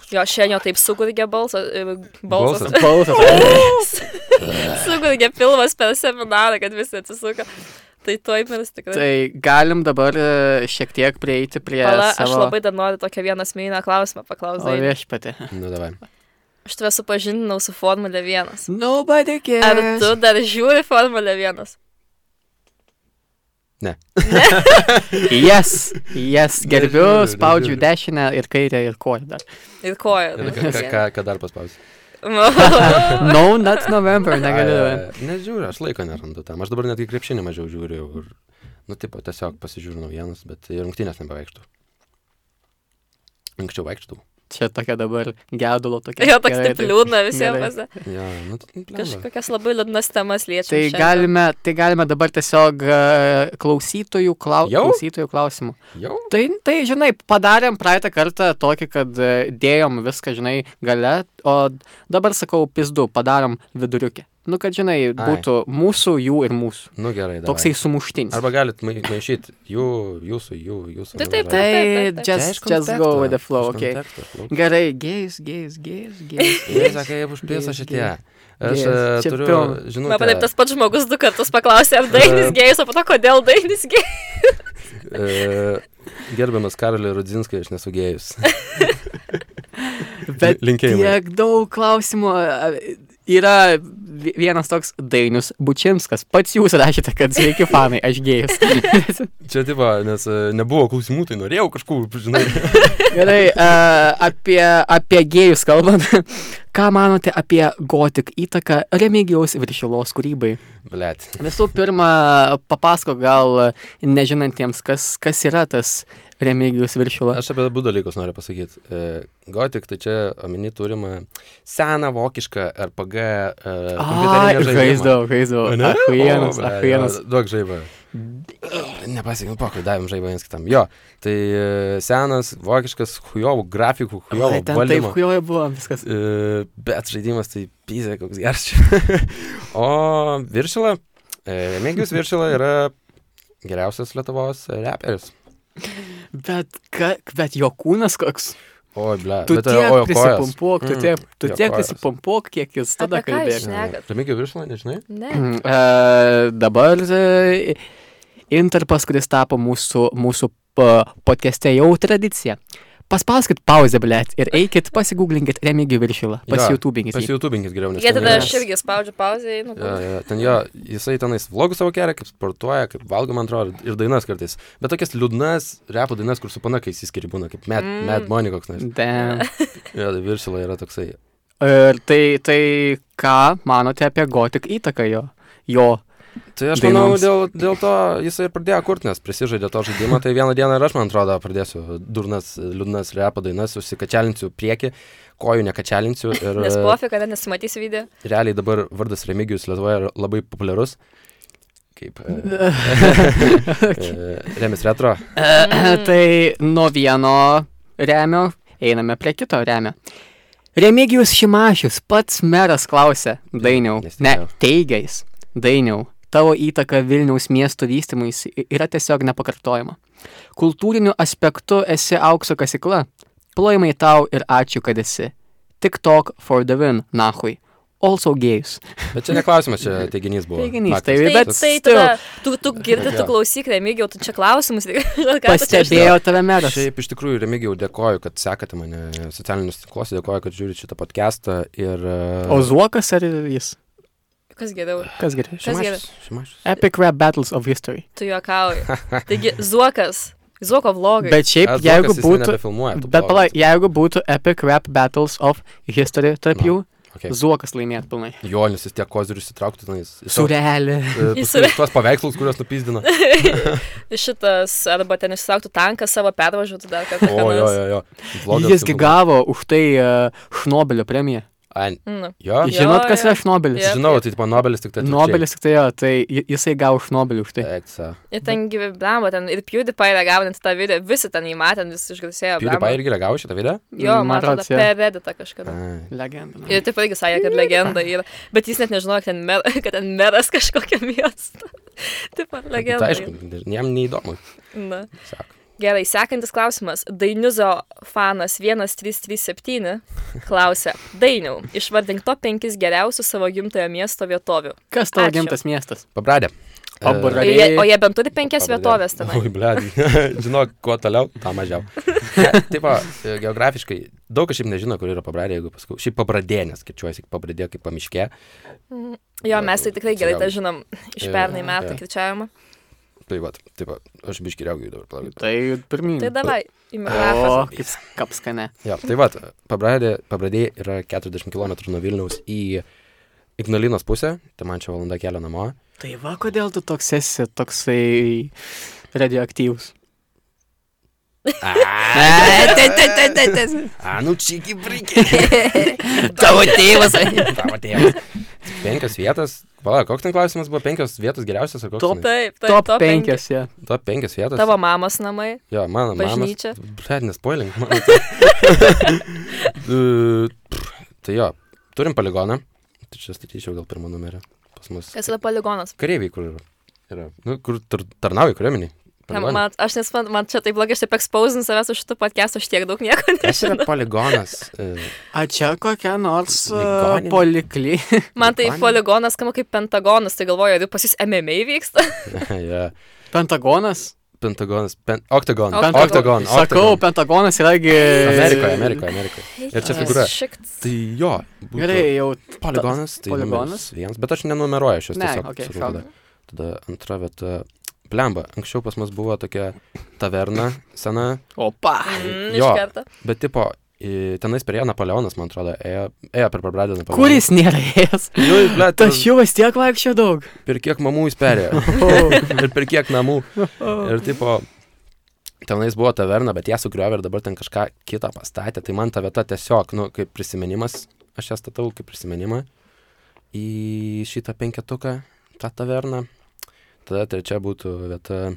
C: Jo, šiandien taip sugurgė balsas. e, Balsas.
B: Balsas.
A: Balsas.
C: Sugurgė pilvas per seminarą, kad visi atsisuka. Tai tuoj mirs tikrai.
A: tai galim dabar e, šiek tiek prieiti prie...
C: Pala, aš
A: savo...
C: labai dar noriu tokią vieną asmeninę klausimą
A: O
C: paklausyti.
A: viešpatė.
B: Nu, davai.
C: Aš tave supažindinau su Formulė 1.
A: Nobody cares.
C: Ar tu dar žiūri Formulę 1?
A: Yes, yes, gerbiu,
B: Nežiūriu,
A: spaudžiu
B: nežiūriu.
A: dešinę ir kairę ir koją dar.
C: Ir koja.
B: Ir Nu, ką- ką- Ką ką dar paspausiu?
A: No, not November, negaliu.
B: Ai, ai, Nežiūriu, aš laiko nerandu tam. Aš dabar netgi krepšinį mažiau žiūriu. Ir, nu, tipo, tiesiog pasižiūriu naujienas, bet į rungtynės nebevaikštų. Anksčiau vaikštų.
A: Čia tokia dabar gedulo tokia.
C: Jo, toks
A: Gerai, tai
C: taip liūdna
A: Gerai.
C: visiems.
B: Ja, nu, tai blemba.
C: Kažkokias labai liūdnas temas liečia.
A: Tai galime, tai galime dabar tiesiog e, klausytojų, klau,
B: Jau?
A: klausytojų klausimų.
B: Jau?
A: Tai, tai, žinai, padarėm praeitą kartą tokį, kad e, dėjom viską, žinai, gale, o dabar sakau, pizdu, padarom viduriukę. Nu, kad, žinai, būtų mūsų, jų ir mūsų.
B: Nu gerai, dabar.
A: Toksai sumuštinis.
B: Arba galit mai- maišyti jų, jūsų, jų, jūsų.
C: Tai taip, taip.
B: nu, davai.
A: Tai
C: taip.
B: Čia iš
A: just, just go
B: konteksto,
A: with the flow,
B: iš
A: okay.
B: konteksto, iš plauko.
A: Gerai, gėjus, gėjus, gėjus, gėjus.
B: Jie sakė, kaip užpėsa
A: Gėjus,
B: šitie.
A: gėjus.
B: Aš
A: Gėjus.
B: e,
A: Čia
B: turiu,
A: pilna.
B: žinau,
C: Man taip tas pats žmogus du kartus paklausė, ar dainis gėjus, o po to kodėl dainis gėjus.
B: e, gerbiamas Karolį Rudzinską, aš nesu gėjus.
A: Bet
B: Linkėjimai.
A: tiek daug klausimų. a, Yra vi- vienas toks dainius Bučinskas. Pats jūs rašėte, kad sveiki fanai, aš gėjus.
B: Čia taip, nes e, nebuvo klausimų, tai norėjau kažkur, žinai.
A: Gerai, a, apie, apie gėjus kalbant. Ką manote apie gotik įtaką Remigijaus viršilos kūrybai?
B: Blet.
A: Visų pirma, papasako gal nežinantiems, kas, kas yra tas Remigijus viršila.
B: Aš apie abu dalykus noriu pasakyti. Gotik, tai čia omeny turima seną vokišką RPG. e, kompiuterinį žaidimą.
A: žaisdavau, žaisdavau.
B: Ane?
A: Ach, vienas,
B: O,
A: ach,
B: blet,
A: vienas.
B: Duok žaibą. Nepasikim, pokai, davėm nu, žaibą vienas kitam. Jo, tai e, senas, vokiškas, hujovų grafikų,
A: Ai,
B: hujovų
A: ten taip,
B: valdymo.
A: kujoje buvo viskas.
B: E, bet žaidimas tai pizė, koks geras čia. o Viršila, e, Remigijus Viršila yra geriausias Lietuvos reperis.
A: Bet, ka, bet jo kūnas koks.
B: O, ble,
A: Tu
B: bet,
A: bet, tiek
B: o, jo kojas.
A: prisipumpuok, tu
B: Mm,
A: tiek, tu
B: jo
A: tiek
B: kojas.
A: prisipumpuok, kiek jis tada
C: Apie ką jis
A: kalbės.
C: šneka? Šnekat.
B: Remigijus Viršila, nežinai?
C: Ne.
A: Mm, e, dabar e, interpas, kuris tapo mūsų, mūsų pa- podcast'e jau tradicija. Paspauskit pauzę, blėt, ir eikit, pasigūglinkit Remigijų viršilą, pas
B: Jo,
A: YouTube'inkit.
B: Pas
A: jį.
B: YouTube'inkis geriau nes
C: Jie
B: ten
C: tada
B: yra-
C: aš irgi spaudžiu pauzę, nu,
B: Jo, jo, ten jo, jisai tenais vlogus savo kelia, kaip sportuoja, kaip valgo, man atrodo, ir dainas kartais. Bet tokias liūdnas repo dainas, kur su pana, kai įsiskiria būna, kaip Mad, mm. Mad Money koks nors.
A: Damn.
B: Jo, tai viršila yra toksai.
A: Ir tai, tai ką manote apie gotik įtaką jo? Jo.
B: Tai aš manau,
A: Dainoms.
B: dėl, dėl to jisai ir pradėjo kurti, nes prisižaidė to žaidimą, tai vieną dieną ir aš, man atrodo, pradėsiu durnas, liūdnas repo dainas, susikačelinsiu prieki, kojų nekačelinsiu ir e,
C: nes pofika, net nesimatys video.
B: realiai dabar vardas Remigijus Lietuvoje yra labai populiarus. Kaip. E, e, remis retro.
C: Mm.
A: tai nuo vieno remio einame prie kito remio. Remigijus Šimašius, pats meras klausė, dainiau, ne,
B: nesitikėjau.
A: teigiais, dainiau, tavo įtaka Vilniaus miesto vystymui yra tiesiog nepakartojama. Kultūriniu aspektu esi aukso kasikla, plojimai tau ir ačiū, kad esi. Tik tok for the win, nahui. Also gėjus.
B: Bet čia neklausimas, čia teiginys buvo.
A: Teiginys,
B: Faktas.
A: tai-
C: Tai,
A: bet
C: bet tai
A: still.
C: tada, tu, tu girdi, tu
B: Jo.
C: klausyk, remigiau, tu čia klausimus. ką tu čia-
A: Pastebėjo tave meras.
B: Šiaip iš tikrųjų, Remigijau, dėkoju, kad sekate mane socialinius tinklus, dėkoju, kad žiūrite šitą podcastą ir... e,
A: O Zuokas ar jis?
C: Kas geriau?
A: Kas gerai?
C: Kas geriau?
B: Šimašius, Šimašius.
A: Epic Rap Battles of History.
C: Tu juokauji. Taigi, Zuokas. Zuoko vlogai.
A: Bet šiaip,
B: Edvokas,
A: jeigu
B: jisai
A: būtų...
B: nebefilmuoja tų
A: Bet
B: blogų.
A: palauk, jeigu būtų Epic Rap Battles of History tarp
B: Na,
A: jų,
B: okei.
A: Zuokas laimėtų pilnai.
B: Jonis, jis tiek kozirius įtrauktų, tenais. į savo-
A: Surelė.
B: e,
C: Į
B: tuos-
C: save.
B: Tuos paveikslus, kuriuos nupizdino.
C: Šitas, arba ten išsitrauktų tanką savo pervažiuotų dar kartą.
B: O, jo, jo, jo. Vlogas
A: Jisgi
B: simbolis.
A: gavo už tai uh, Šnobelio premiją.
B: Ai,
C: Nu.
B: Jo,
C: Jo,
A: Žinot, kas
C: jo.
A: yra Šnobelis?
C: Jep.
B: žinau, tai tipo Nobelis tik tai. atvirkščiai.
A: Nobelis tik tai jo, tai ji- jisai gavo Šnobelį už tai.
B: Eksa.
C: Ir ten gyvi blemba, ten ir PewDiePie reagavo net į tą video, visi ten jį matė, ten visi išgarsėjo. blemba.
B: PewDiePie irgi reagavo šitą video?
C: Jo,
A: Man
C: man atrodo,
A: rods, jo.
C: per Redditą kažkada.
B: Ai.
A: Legenda.
C: Ir taip irgi sakė, kad legenda yra. Bet jis net nežinojo, kad ten, mer, kad ten meras kažkokio miesto. Taip pat
B: Tai
C: legenda.
B: aišku, jam neįdomu.
C: Na.
B: Sako.
C: Gerai, sekantis klausimas. Dainiuzo fanas 1337 klausia, Dainiau, išvardink to penkis geriausių savo gimtojo miesto vietovių.
A: Kas tavo
C: Ačiū.
A: gimtas miestas?
B: Pabradė.
A: O,
B: E,
A: Bra-
C: O jie, o jie bent turi penkias
B: Pabradė.
C: vietovės ten.
B: Oi, blė, žinok, kuo toliau, tą mažiau. Ne, Taip, va, e, geografiškai daug kas šiaip nežino, kur yra pabradė, jeigu pasakau. Šiaip pabradė, nes kirčiuojasi pabradė kaip pamiškė.
C: Jo, mes tai tikrai gerai tą
B: Čia
C: žinom iš
B: Jo,
C: pernai
B: jo.
C: metų kirčiavimo.
B: Tai va, taip, va, aš biškiriaugiu dabar palaukit.
A: Tai pirmin.
C: Tai davai,
A: O,
C: imigrafas.
A: kaip kapskane.
B: Jo, tai va, pabradė, pabradė yra 40 km nuo Vilniaus į Ignalinos pusę, tai man čia valanda kelio namo.
A: Tai va, kodėl tu toks esi toksai radioaktyvus?
B: A, nu čia iki brikė.
A: Tavo tėvas.
B: Tavo tėvas. Penkios vietos. Pala, koks ten klausimas buvo? Penkios vietos geriausias ar koks?
A: Top.
B: tenai?
C: Taip, taip,
A: Top
C: top penki.
A: 5, jie.
B: Top penkios vietos.
C: Tavo mamos namai.
B: Jo, mano mama.
C: Bažnyčia.
B: Blet, nespoilink. mano. tai. E, pff, tai jo, turim poligoną. Tai čia statyčiau gal pirmą numerį pas mus.
C: Kas yra poligonas?
B: Kareiviai, kur yra? yra. Nu, kur tar tarnauja kariuomeniai.
C: Ne,
B: Poligone.
C: Man, aš nesuprantu, man čia taip blogai, aš taip ekspausinu savęs už šitų podcastų, aš tiek daug nieko
B: Kas yra
C: nežinau.
B: poligonas? E,
A: A čia kokia nors uh,
B: Ligoninė.
A: polikly.
C: Man tai
B: Ligoninė?
C: poligonas skamba kaip pentagonas, tai galvoju, jeigu pas jūs MMA vyksta.
B: jo.
A: Pentagonas?
B: E, Pentagonas. Pen oktagon.
C: Oktagon.
B: Oktagon.
A: Sakau, Pentagonas yragi.
B: Amerikoje, Amerikoje, Amerikoje. Ir čia
A: Ai.
B: figūra.
C: Šikts.
B: Tai jo, būtų
A: Gerai, jau.
B: poligonas. Tai
A: poligonas.
B: numeris Vienas, bet aš nenumeruoju šios
A: Ne,
B: tiesiog.
A: okei,
B: sakau
A: šaunu.
B: tada. Tada antra vieta. Plemba, anksčiau pas mus buvo tokia taverna sena,
A: Opa.
C: Mm, iš
B: Jo.
C: karto.
B: bet tipo, į- tenais prie Napoleonas, man atrodo, ėjo, ėjo per Pabradę Napoleoną.
A: Kuris nėra jas?
B: Nu, ble,
A: Tas jų vis tiek vaikščio daug.
B: Per kiek mamų jis perėjo. ir per kiek namų. Ir tipo, tenais buvo taverna, bet ją sugriovė ir dabar ten kažką kitą pastatė. Tai man ta vieta tiesiog, nu, kaip prisiminimas, aš ją statau kaip prisiminimą į šitą penketuką, tą taverną. Tada trečia būtų vieta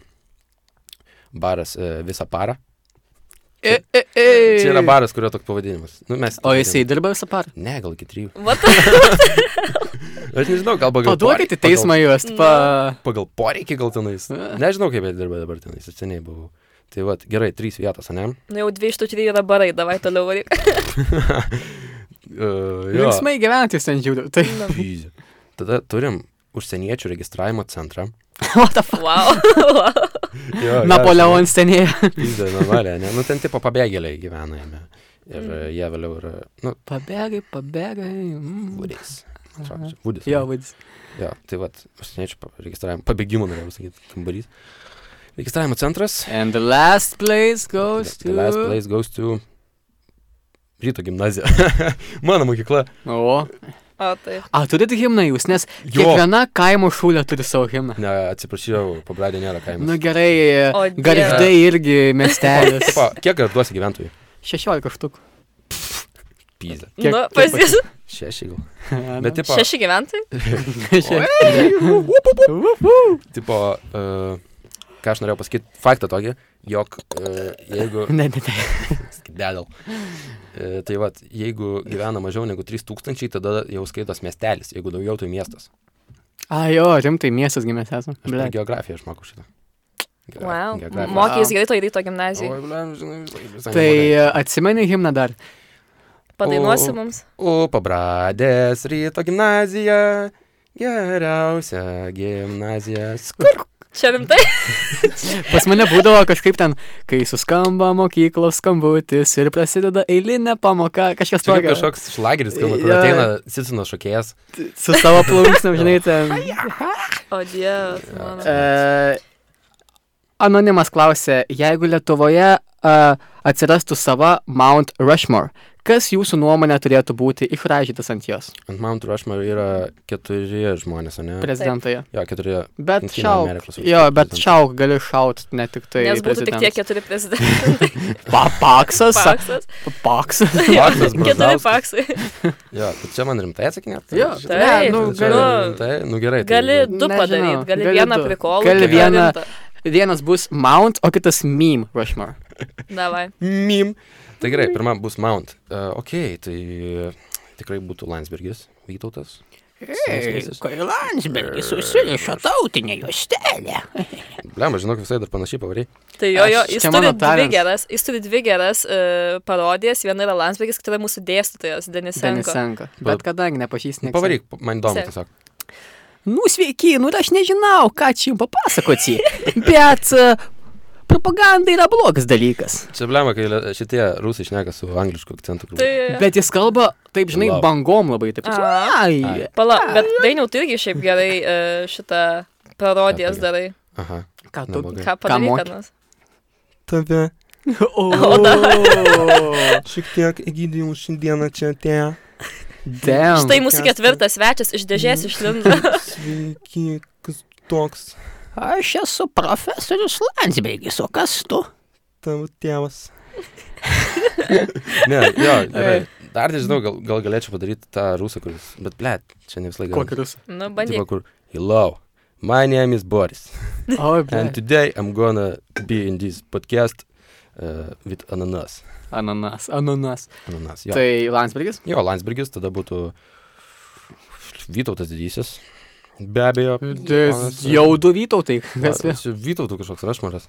B: baras e, visą parą.
A: E, e, e.
B: Čia yra baras, kurio toks pavadinimas. Nu, mes,
A: O jisai dirba visą parą.
B: Ne, gal iki trijų.
C: Vat,
B: Aš nežinau, gal pagal...
A: Paduokit į
B: porei-
A: teismą juos. Pa...
B: Pagal, pagal poreikį gal tenais.
A: Ne.
B: Nežinau, kaip jie dirba dabar tenais, aš seniai buvau. Tai va, gerai, trys vietos, ne?
C: nu jau dvi iš tų trijų yra barai, davai toliau varyk.
B: Uh, jo.
A: Linksmai gyventi jūs ten žiūriu. Tai,
C: Nu,
B: Pyzė. Tada turim užsieniečių registravimo centrą.
A: what the fuck?
C: Wow. wow.
B: Jo,
A: Napoleon senėje.
B: Pyzė, normaliai, ne? Nu, ten tipo pabėgėliai gyvena jame. Ir mm. jie vėliau yra, nu,
A: Pabėgai, pabėgai. Mm.
B: vudis. Vudis.
A: Jo, vadis.
B: jo, tai va, užsieniečių pa- registravimo, pabėgimo, norėjau sakyti, kambarys. Registravimo centras.
A: And the last place goes
B: The
A: to...
B: last place goes to ryto gimnazija. Mano mokykla.
A: O.
C: O tai.
A: A, turit himną jūs, nes
B: Jo.
A: kiekviena kaimo šūlė turi savo himną.
B: Ne, atsiprašau, pabradė nėra
A: Nu
B: kaimas.
A: gerai,
C: O Dieve.
A: garždai irgi miestelis.
B: Tipo, kiek garduosi gyventojų?
A: 16 štukų.
B: Pyzė.
A: Kiek-
C: Nu,
A: kiek
C: pas jūs.
B: Šeši gal.
A: Bet
B: Bet tipo,
C: Šeši gyventojai?
B: tipo, e, uh, ką aš norėjau pasakyti, faktą tokį, jog uh, e, jeigu...
A: Ne, ne, ne.
B: dedal. E, Tai vad, jeigu gyvena mažiau negu 3000, tada jau skaitos miestelis, jeigu daugiau, tai miestas.
A: Ai, jo, rimtai, miestas gimęs esame.
B: Aš per geografiją išmokau šitą. Geogra-
C: Wow.
B: geografiją.
C: Mokys greito įryto gimnazijoje.
B: Oi, blem, žinai, visai- visai
A: Tai
B: neblogai.
A: e, atsimeni himną dar.
C: Padainuosi
B: o-
C: mums.
B: O pabradės ryto gimnazija, geriausia gimnazija. Skur.
C: Čia rimtai?
A: Pas mane būdavo kažkaip ten, kai suskamba mokyklos skambutis ir prasideda eilinė pamoka, kažkas
B: Čia kaip
A: tokio.
B: kažkoks šlageris, kur kur
A: Jo.
B: ateina Cicino šokėjas.
A: Su savo plunksnu, žinai, ten.
C: O dievas. mano.
A: E, anonimas klausė, jeigu Lietuvoje e, atsirastų sava Mount Rushmore, kas jūsų nuomonė turėtų būti išražytas ant jos
B: Ant Mount Rushmore yra keturi žmonės, ar ne?
A: prezidentoje?
B: Jo, keturi.
A: Bet
B: Jungtinių
A: šauk.
B: Amerikos valstijų
A: Jo, bet
B: prezidentas.
A: šauk, gali šaut ne tik tai.
C: Nes būtų tik tie
A: prezidentas.
C: keturi prezidentai.
A: Pa, paksas.
C: Paksas.
A: Paksas.
B: Paksas,
C: Keturi
B: Brazauskas.
C: paksai.
B: Jo, tai čia man rimtai atsakinėt? Tai
A: Jo,
B: Čia-
C: Taip,
A: Ne, nu,
B: čia
A: galiu.
B: rimtai, nu gerai. tai-
C: Gali du
A: Nežinau,
C: padaryti, gali,
A: gali
C: gali vieną
A: du.
C: prikolą.
A: Gali
C: kitą
A: vieną.
C: rimtą.
A: Vienas bus Mount, o kitas Meme Rushmore.
C: Davai.
B: Mim. Tai gerai, pirma bus Mount. Uh, ok, tai tikrai būtų Landsbergis, Vytautas. Senesnysis.
D: Kai Landsbergis užsirišo tautinę juostelę.
B: Blem, aš žinok, visai dar panašiai pavariai.
C: Tai jo, jo,
A: Aš-
C: jis
A: čia
C: turi,
A: mano
C: dvi
A: talentas.
C: geras, jis turi dvi geras uh, parodijas. Viena yra Landsbergis, kita yra mūsų dėstytojas Denisenko.
A: Denisenko. Bet kadangi nepažįsti.
B: Pavaryk, man įdomu
C: Sek.
B: tiesiog.
A: Nu, sveiki, nu aš nežinau, ką čia jums papasakoti, bet e, propaganda yra blogas dalykas.
B: Čia blem, kai le- šitie rusai šneka su anglišku akcentu.
C: Tai,
A: Bet jis kalba, taip žinai,
B: Lab.
A: bangom labai taip.
C: Aha.
A: Ai.
C: pala, bet dainiau, tu irgi šiaip gerai uh, šitą parodijas
B: Ką
C: darai.
B: Aha.
A: Ką tu?
B: Neblogai.
C: Ką
A: moki?
C: padarykanas?
E: Tave
A: O,
E: šiek tiek įgydėjau šiandieną čia atėjo.
A: damn.
C: Štai mūsų
E: Kęstai.
C: ketvirtas svečias iš
A: Mm.
C: dėžės išlindo.
E: Mm, Sveiki, kas toks
D: Aš esu profesorius Landsbergis, o kas tu?
E: tavo tėvas?
B: Ne, jo,
C: Tai-
B: gerai. Dar nežinau, gal, gal galėčiau padaryti tą rusą, kuris. Bet blem, čia ne visą laiką.
A: Kokius?
C: Nu,
B: Tipo,
C: bandyk.
B: kur. Hello. My name is Boris.
A: Oi,
B: And
A: bet.
B: today I'm gonna be in this podcast uh, with Ananas.
A: Ananas, ananas.
B: Ananas. Jo.
A: Tai Landsbergis?
B: Jo, Landsbergis, tada būtų Vytautas didysis. Be abejo.
A: Mm,
B: Ponas-
A: Jau du vytautai.
B: Va, čia Vytautų kažkoks rašmaras.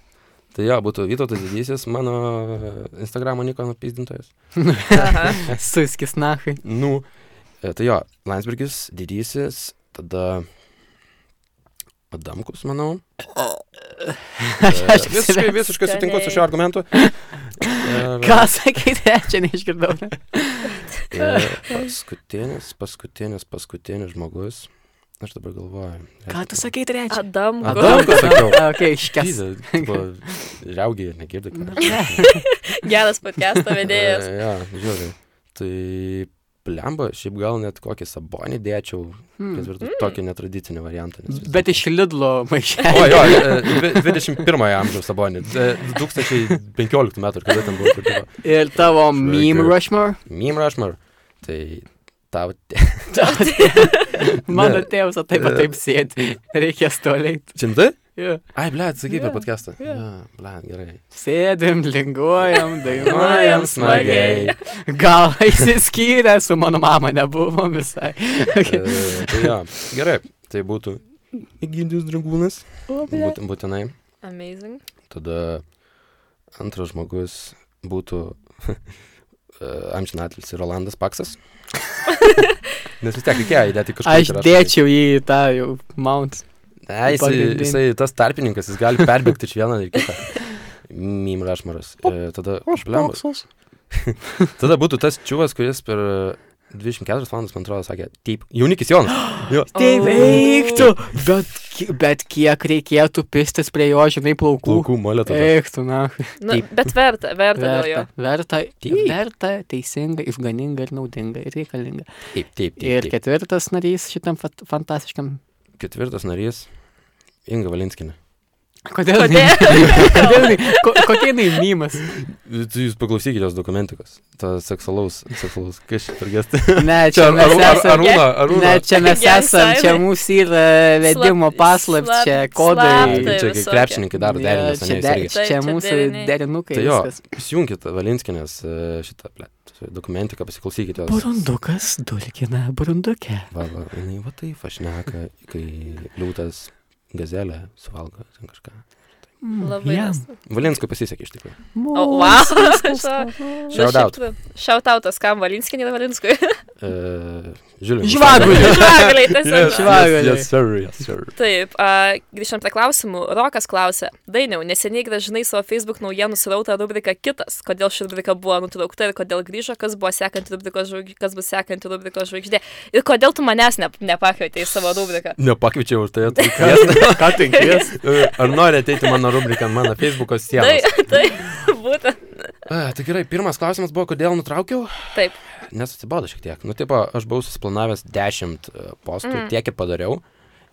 B: Tai jo, būtų Vytautas didysis, mano e, Instagramo Nikono pizdintojas.
C: Aha.
A: Suskis nahai.
B: Nu, e, tai jo, Landsbergis didysis, tada Adamkus, manau. Aš visiškai, visiškai sutinku su šiuo argumentu. Ir-
A: Ką sakėte, čia neišgirdau.
B: Ir E, paskutinis, paskutinis, paskutinis žmogus. Aš dabar galvoju.
A: Ką tu sakei trečią?
C: Adam.
B: Adamkus sakiau.
A: Okei, iškes.
B: Pyza, tipo, Riaugiai ir negirdi. ką aš
C: Geras podcast'o vedėjas.
B: E, Jo, žiūri. Tai plemba, šiaip gal net kokį sabonį dėčiau,
A: Hmm.
B: nes vardu tokį netradicinį variantą. nes vis
A: Bet
B: dėlto-
A: iš Lidlo
B: O,
A: maišelio.
B: jo, e, dvi- 21 amžiaus sabonį. E, 2015 metų, ir kada ten buvo. kur tipo,
A: Ir tavo
B: Sveiki.
A: meme Rushmore.
B: Meme Rushmore. Tai tau
A: Mano
B: Ne.
A: tėvas va taip pat taip sėdi. Reikės toliai.
B: Šimtai?
A: Jo.
B: Ai, ble, atsakai per podcastą.
A: jo.
B: Jo, Ble, gerai.
A: Sėdim, linguojam, dainuojam
C: Dainuojam
A: smagiai.
C: smagiai.
A: Gal išsiskyrę su mano mama nebuvo visai. Okay.
B: E, Tai jo, gerai. Tai būtų
E: Įgydėjus dragūnas.
B: būt, būtinai.
C: Amazing.
B: Tada antras žmogus būtų э, amžinatelis Rolandas Paksas. Nes vis tiek reikėjo įdėti kažką.
A: Aš dėčiau jį į tą jau mount.
B: Ne, jisai,
A: pagrindinį.
B: jisai tas tarpininkas, jis gali perbėgti iš vieno į kitą. Mim rašmaras. E, tada, blemba,
E: Paksas.
B: tada būtų tas čiūvas, kuris per e, 24 valandas, man atrodo, sakė, taip, jaunikis Jonas. Jo.
A: Tai
C: O.
A: veiktų. Bet, ki- bet kiek reikėtų pistis prie jo, žinai, plaukų.
B: Plaukų molėtų.
A: Eiktų, na.
C: Nu, bet verta, verta dėl jo.
A: Verta, verta,
B: Taip.
A: verta, teisinga, išganinga ir naudinga ir reikalinga.
B: Taip,
A: Ir
B: taip, taip. taip.
A: ketvirtas narys šitam fat- fantastiškam.
B: Ketvirtas narys - Inga Valinskinė.
A: Kodėl? jinai-
C: Kodėl?
A: Kodėl? jinai- ko- Kokia jinai mymas?
B: Tai jūs paklausykite jos dokumentikos. Ta seksualaus, seksualaus, kas čia per gestą.
A: Ne, čia
B: Čia
A: mes
B: Arūna,
A: esam.
B: Arūna, Arūna.
A: Ne, čia mes
C: Gerai,
A: esam, čia
C: Saimai.
A: mūsų yra vedimo
C: Slap-
A: paslaptis,
C: slap-
A: čia
C: slaptai.
A: kodai.
B: Tai Čia kaip
C: visokie.
B: krepšininkai daro
A: Jo,
B: derinimus,
A: čia, de,
B: ne, jis irgi.
C: Taip,
A: čia
C: čia
A: mūsų
C: deriniai.
A: derinukai.
B: Tai jo.
A: viskas.
B: Įsijunkit Valinskinės e, šitą ble, dokumentiką, pasiklausykite jos.
A: Burundukas dulkina burundukė.
B: Va, va, jinai va taip aš neka, kai liūtas gazelę suvalgo ten kažką.
C: Labai.
A: Mm, Jam.
C: nes-
B: Valinskui pasisekė iš tikrųjų.
C: O, wow. Shout
B: out.
C: Nu, Shout out, kam Valinskiniai ir Valinskui.
B: E, Žiūrėjau.
A: Žvaguliai.
C: Žvagaliai, tiesiog.
B: Yes, yes, yes, sir, yes, sir.
C: Taip, a, grįžtant prie klausimų, Rokas klausė, Dainiau, neseniai gražinai savo Facebook naujienų srautą rubriką Kitas, kodėl ši rubrika buvo nutraukta ir kodėl grįžo, kas buvo sekanti rubrikos žvaigždė, kas bus sekanti rubrikos žvaigždė ir kodėl tu manęs ne,
A: Tai
C: nepakvietei į savo rubriką.
B: Nepakvičiau už tai atvykęs.
A: Ką tik jas?
B: Ar nori ateiti mano rubriką, ant mano Facebook'o sieną?
C: Taip, taip, Tai, būtent.
B: Tai gerai, pirmas klausimas buvo, kodėl nutraukiau?
C: Taip.
B: Nes atsibodo šiek tiek. Nu, tipo, aš buvau susiplanavęs 10 e, postų, mm. tiek ir padariau.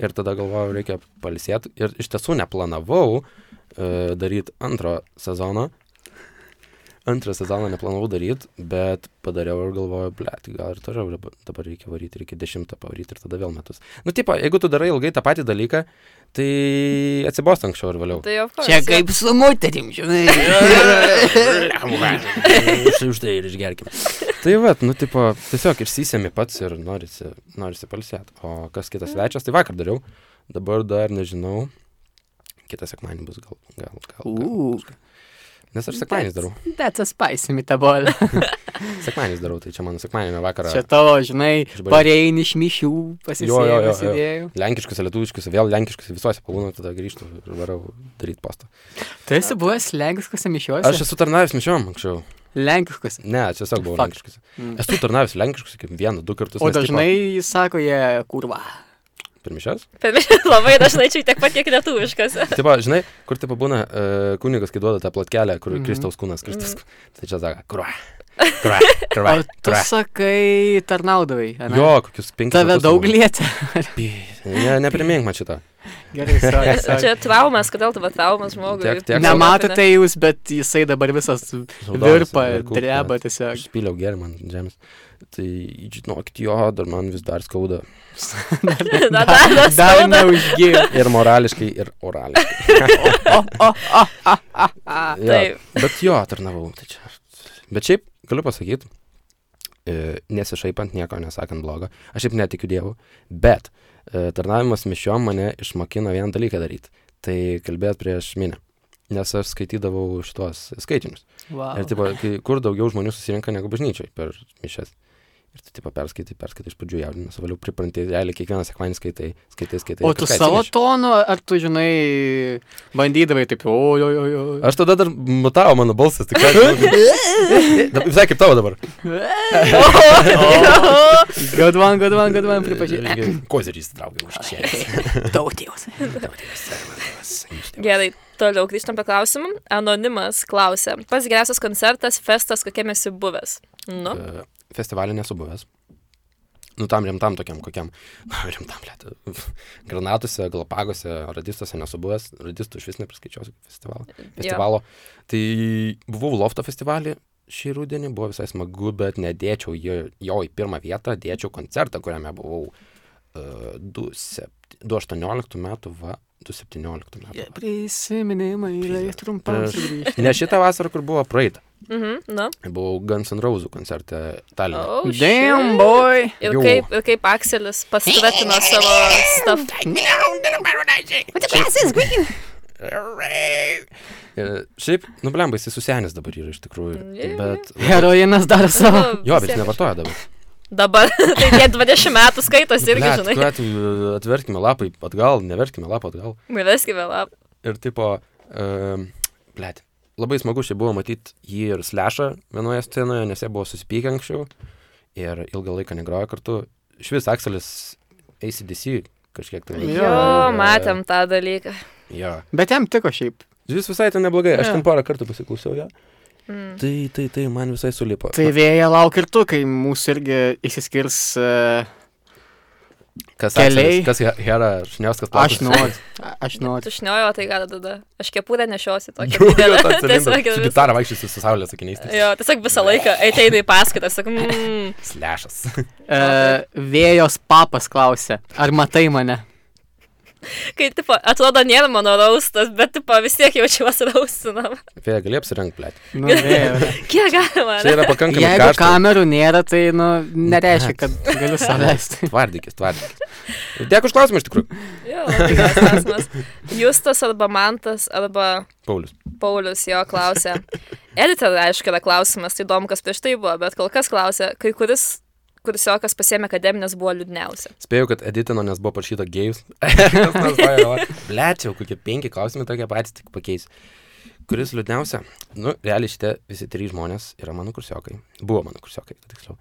B: Ir tada galvojau, reikia palisėti. Ir iš tiesų neplanavau uh, daryti antro sezono. Antrą sezoną neplanavau daryti, bet padariau ir galvojau, ble, tai gal ir toliau daba- dabar reikia varyti, reikia dešimtą pavaryti ir tada vėl metus. Nu, tipo, jeigu tu darai ilgai tą patį dalyką, tai atsibos anksčiau ir vėliau.
C: Tai jau
D: Čia kaip su moterim, žinai.
B: Štai už tai ir išgerkime. Tai va, nu, tipo, tiesiog išsisėmi pats ir norisi, norisi palsėti. O kas
A: Mm.
B: kitas svečias, tai vakar dariau, dabar dar nežinau. Kitą sekmanį bus gal, gal, gal. gal.
A: Uuu.
B: Nes aš sekmanį darau.
A: That's a spicy metabolė.
B: Sekmanį darau, tai čia mano sekmanį vakarą.
A: Čia tavo, žinai,
B: Išbandžiau.
A: pareini iš mišių,
B: Jo, jo, jo, jo.
A: pasisėjęs idėjų.
B: Lenkiškus, lietuviškus, vėl lenkiškus, visuose pabūnu, tada grįžtu ir varau daryti postą.
A: Tu esi buvęs lenkiškose mišiuose?
B: Aš esu tarnavęs mišiom anksčiau.
A: Lenkiškose.
B: Ne, aš tiesiog buvau
A: Fuck.
B: lenkiškus.
A: Mm.
B: Esu tarnavęs lenkiškus kaip vieną, du kartus.
A: O
B: nes, tipo,
A: dažnai jis sako, jie kurva.
B: Per mišias?
C: Labai dažnai čia tiek pat, kiek lietuviškas.
B: Taip, Tai žinai, kur taip būna, uh, kunigas, kai duoda tą platkelę, kur mm
A: Mhm.
B: -hmm. Kristaus kūnas, Kristaus
C: Mhm.
B: kūnas. Tai čia sako, kruo. Kruo.
A: O
B: Kruo.
A: tu sakai, tarnaudavai. ane?
B: Jo, kokius penkis.
A: Tave
B: metus
A: daug
B: turbūt.
A: lietė.
B: Ne, neprimink man šitą.
A: Gerai, sorry, sorry.
C: Čia traumas, kodėl tavo traumas žmogui?
B: Tiek-
D: tai-
B: tiek-
A: Nematote jūs, bet jisai dabar visas virpa,
B: Raudonais,
A: dreba
B: net.
A: tiesiog.
B: Aš spyliau gerimą ant žemės. Tai, žinok, jo, dar man vis dar skauda.
C: Na, dar, dar,
A: Dar
C: dar.
A: neužgėjo.
B: Ir morališkai, ir orališkai. Jo,
C: Taip.
B: Bet jo, tarnavau. Tai čia. Bet šiaip, galiu pasakyti, nesišaipant nieko, nesakant blogo, aš šiaip netikiu Dievu, bet e, tarnavimas mišiom mane išmokino vieną dalyką daryti. Tai kalbėt prieš minę. Nes aš skaitydavau šitos skaitinius.
A: Wow.
B: Ir tipo, kai, kur daugiau žmonių susirinka negu bažnyčiai per mišes. Ir tu tipo perskaitai, perskaitai iš pradžių jaudinęs, valiau pripranti, realiai kiekvieną sekmanį skaitai, skaitai, skaitai.
A: O
B: ir
A: tu
B: kažką
A: savo
B: Tai atsineši.
A: tonu, ar tu, žinai, bandydavai taip, oi, oi, oi, oi.
B: Aš tada dar mutavo mano balsas, tikrai. Dab- Visai kaip tavo dabar.
A: Good one, good one, good one, pripažinau.
B: Kozerį įsitraukiau už čia.
D: Tautėjus.
B: Tai
C: Gerai, toliau grįžtam prie klausimų. Anonimas klausė, pats geriausias koncertas, festas, kokiame esi buvęs? Nu,
B: E, Festivalį nesu buvęs. Nu, tam rimtam tokiam kokiam. nu, Rimtam, liet. Granatuose, Galapagose, Radistuose nesu buvęs. Radistų iš vis nepriskaičiuosiu kaip festivalo. festivalo. Tai buvau Lofto festivalį šį rudenį, buvo visai smagu, bet nedėčiau jo, jo į pirmą vietą, dėčiau koncertą, kuriame buvau uh, 2018 metų, va, 2017 metų. Yeah.
A: E, Prisiminimai, yra trumpam
B: Prieš-
A: sugrįžti.
B: Ne šitą vasarą, kur buvo praeitą.
C: mhm, nu.
B: Buvau Guns N' Roses koncerte Taline.
C: Oh, shit.
A: Damn, boy.
C: Ir
B: Jau.
C: kaip, ir kaip Akselis pastvetino savo stuff.
B: Ir šiaip, nu, blemba, jis susenis dabar yra iš tikrųjų.
C: Jo, jo,
B: Bet...
A: Heroinas daro savo.
B: Jo, bet jis
C: Vis tiek.
B: nevartoja dabar.
C: Dabar, tai tie 20 metų skaitos irgi,
B: Blet,
C: žinai.
B: kuriuo atveju e, atverkime lapai atgal, neverkime lapą atgal.
C: Mylėskime lab.
B: Ir tipo, um, blėt, labai smagu šiaip buvo matyti jį ir slešą vienoje scenoje, nes jie buvo susipykę anksčiau ir ilgą laiką negrojo kartu. Švis Akselis ACDC kažkiek tai.
A: Jo.
C: Jo, matėm tą dalyką.
B: Jo.
A: Bet jam tiko šiaip.
B: Jis visai ten neblogai, aš
A: Jo.
B: ten porą kartų pasiklausiau jo.
C: Mm.
B: Tai, tai, tai, man visai sulipo.
A: e, Tai vėja lauk ir tu, kai mūsų irgi išsiskirs. Uh,
B: Kas
A: Keliai.
B: Akselis, kas He- Hera, Šniauskas
A: Aš noriu. a- Aš noriu.
C: Tušniojo, tai ką tada? Aš kepurę nešiosiu tokią.
B: Jau, jau,
C: didelę.
B: tą cilindrą.
C: Tiesiog ir
B: Su
C: viskas.
B: gitarą vaikščiosiu su saulės akiniais. tai
C: Jo, tiesiog visą laiką ateina į paskaitas, sakau, mmm,
B: Slešas.
A: E, vėjos papas klausė, ar matai mane?
C: kai, tipo, atrodo, nėra mano raustas, bet, tipo, vis tiek jaučiuosi raustinam.
B: Vėja, gali apsirengti, blėt.
A: Nu, vėjo.
C: Kiek galima?
B: Čia
C: ne?
B: yra pakankamai
A: Jeigu
B: karšta.
A: kamerų nėra, tai, nu, nereiškia, kad galiu savęs.
B: Tvardykis, tvardykis. Dėkui už klausimą iš tikrųjų.
C: Jo, labai geras klausimas. Justas arba Mantas arba
B: Paulius.
C: Paulius jo klausė. Editor, aišku, yra klausimas, tai įdomu, kas prieš tai buvo, bet kol kas klausė, kai kuris, kuris jo, kas pasiemė akademinės, buvo liūdniausia.
B: Spėjau, kad editino, nes buvo parašyta gėjus. Blėt, jau kokie penki klausimai tokie patys, tik pakeisiu. Kuris liūdniausia? Nu, realiai šitie visi trys žmonės yra mano kursiokai. Buvo mano kursiokai, tai tiksliau.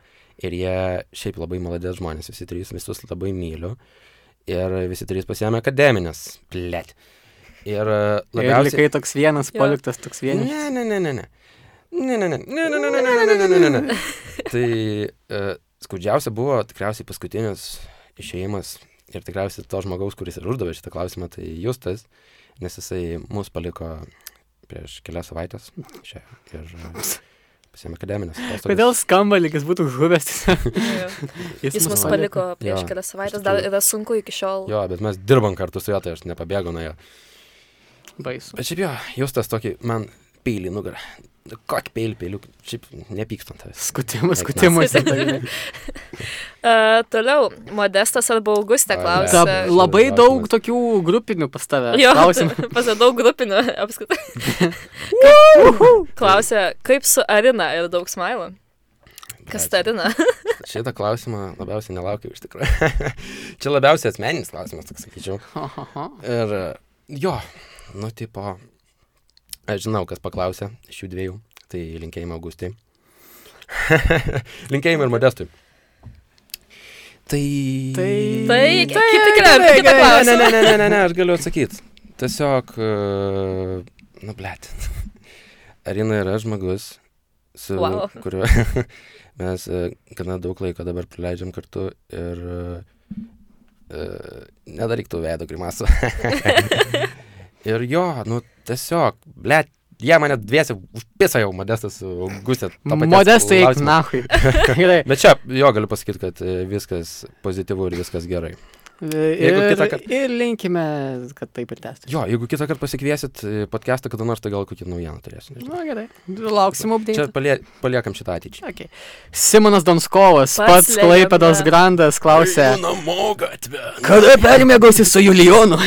B: Ir jie šiaip labai maladės žmonės, visi trys, visus labai myliu. Ir visi trys pasiemė akademinės. Blėt. Ir
A: Ir
B: e, labiausiai...
A: likai toks vienas,
C: Jo.
A: paliktas toks vienas.
B: Ne, ne, ne, ne, ne. Ne, ne, ne, ne, ne, ne, ne, ne, ne, ne, ne, ne, ne. Tai uh, skaudžiausia buvo tikriausiai paskutinis išėjimas ir tikriausiai to žmogaus, kuris ir uždavė šitą klausimą, tai Justas, nes jisai mus paliko prieš kelias savaitės čia ir uh, pasiėmė akademinės. atostogas.
A: Kodėl skamba, lyg jis būtų žuvęs?
C: Jo. Jis mus
B: mus
C: paliko prieš
B: Jo,
C: kelias
B: iš
C: savaitės, dar
B: tikrųjų.
C: yra sunku iki šiol.
B: Jo, bet mes dirbam kartu su juo, tai aš nepabėgau nuo jo.
A: Baisu.
B: Bet šiaip jo, Justas tokį man peilį nugarą. Kokį peilį, peiliu, šiaip nepykstant tavęs.
A: Skutimas, skutimas.
C: Uh, toliau, Modestas arba Augustė
B: Ai,
A: Ta,
C: klausė.
B: ne.
A: labai daug tokių grupinių pas tave.
C: Jo,
A: Klausimų.
C: pasidau grupinio apskritai. Klausė, kaip su Arina ir daug smailų. Kas ta Arina?
B: Šitą klausimą labiausiai nelaukiau iš tikrųjų. Čia labiausiai asmeninis klausimas, toks sakyčiau.
A: Ohoho.
B: Ir e, jo, nu tipo, aš žinau, kas paklausė iš jų dviejų. Tai linkėjimai Augustai. linkėjimai ir Modestui. Tai...
A: Tai-
C: Tai
A: Tai-
C: kitą kitą- kitą
B: Ne,
C: klausimą.
B: ne, ne, ne, ne, ne, aš galiu atsakyti. Tiesiog, e, nu, blėt. Arina yra žmogus, su
C: Vau.
B: kuriuo mes e, gana daug laiko dabar praleidžiam kartu ir e, nedaryk tų veido grimasų. ir jo, nu, tiesiog, blėt, jie mane dviesi užpisa jau modestas su Augustė. to paties
A: Modestai, eik
B: klausimo.
A: nahui. Gerai.
B: Bet čia, jo, galiu pasakyti, kad e, viskas pozityvu ir viskas gerai.
A: Ir,
B: kitą kartą-
A: ir linkime, kad taip ir tęstų.
B: Jo, jeigu kitą kartą pasikviesit e, podcastą, kada nors tai gal kokį naujieną turėsim.
A: Na tai gerai, lauksim update.
B: Čia palie, paliekam šitą ateičiai.
A: Okay. Simonas Donskovas, pats
C: Pats
A: Klaipedos
C: legenda.
A: Grandas, klausė.
B: Namo gatvę.
A: Kada permėgausi su Julionu?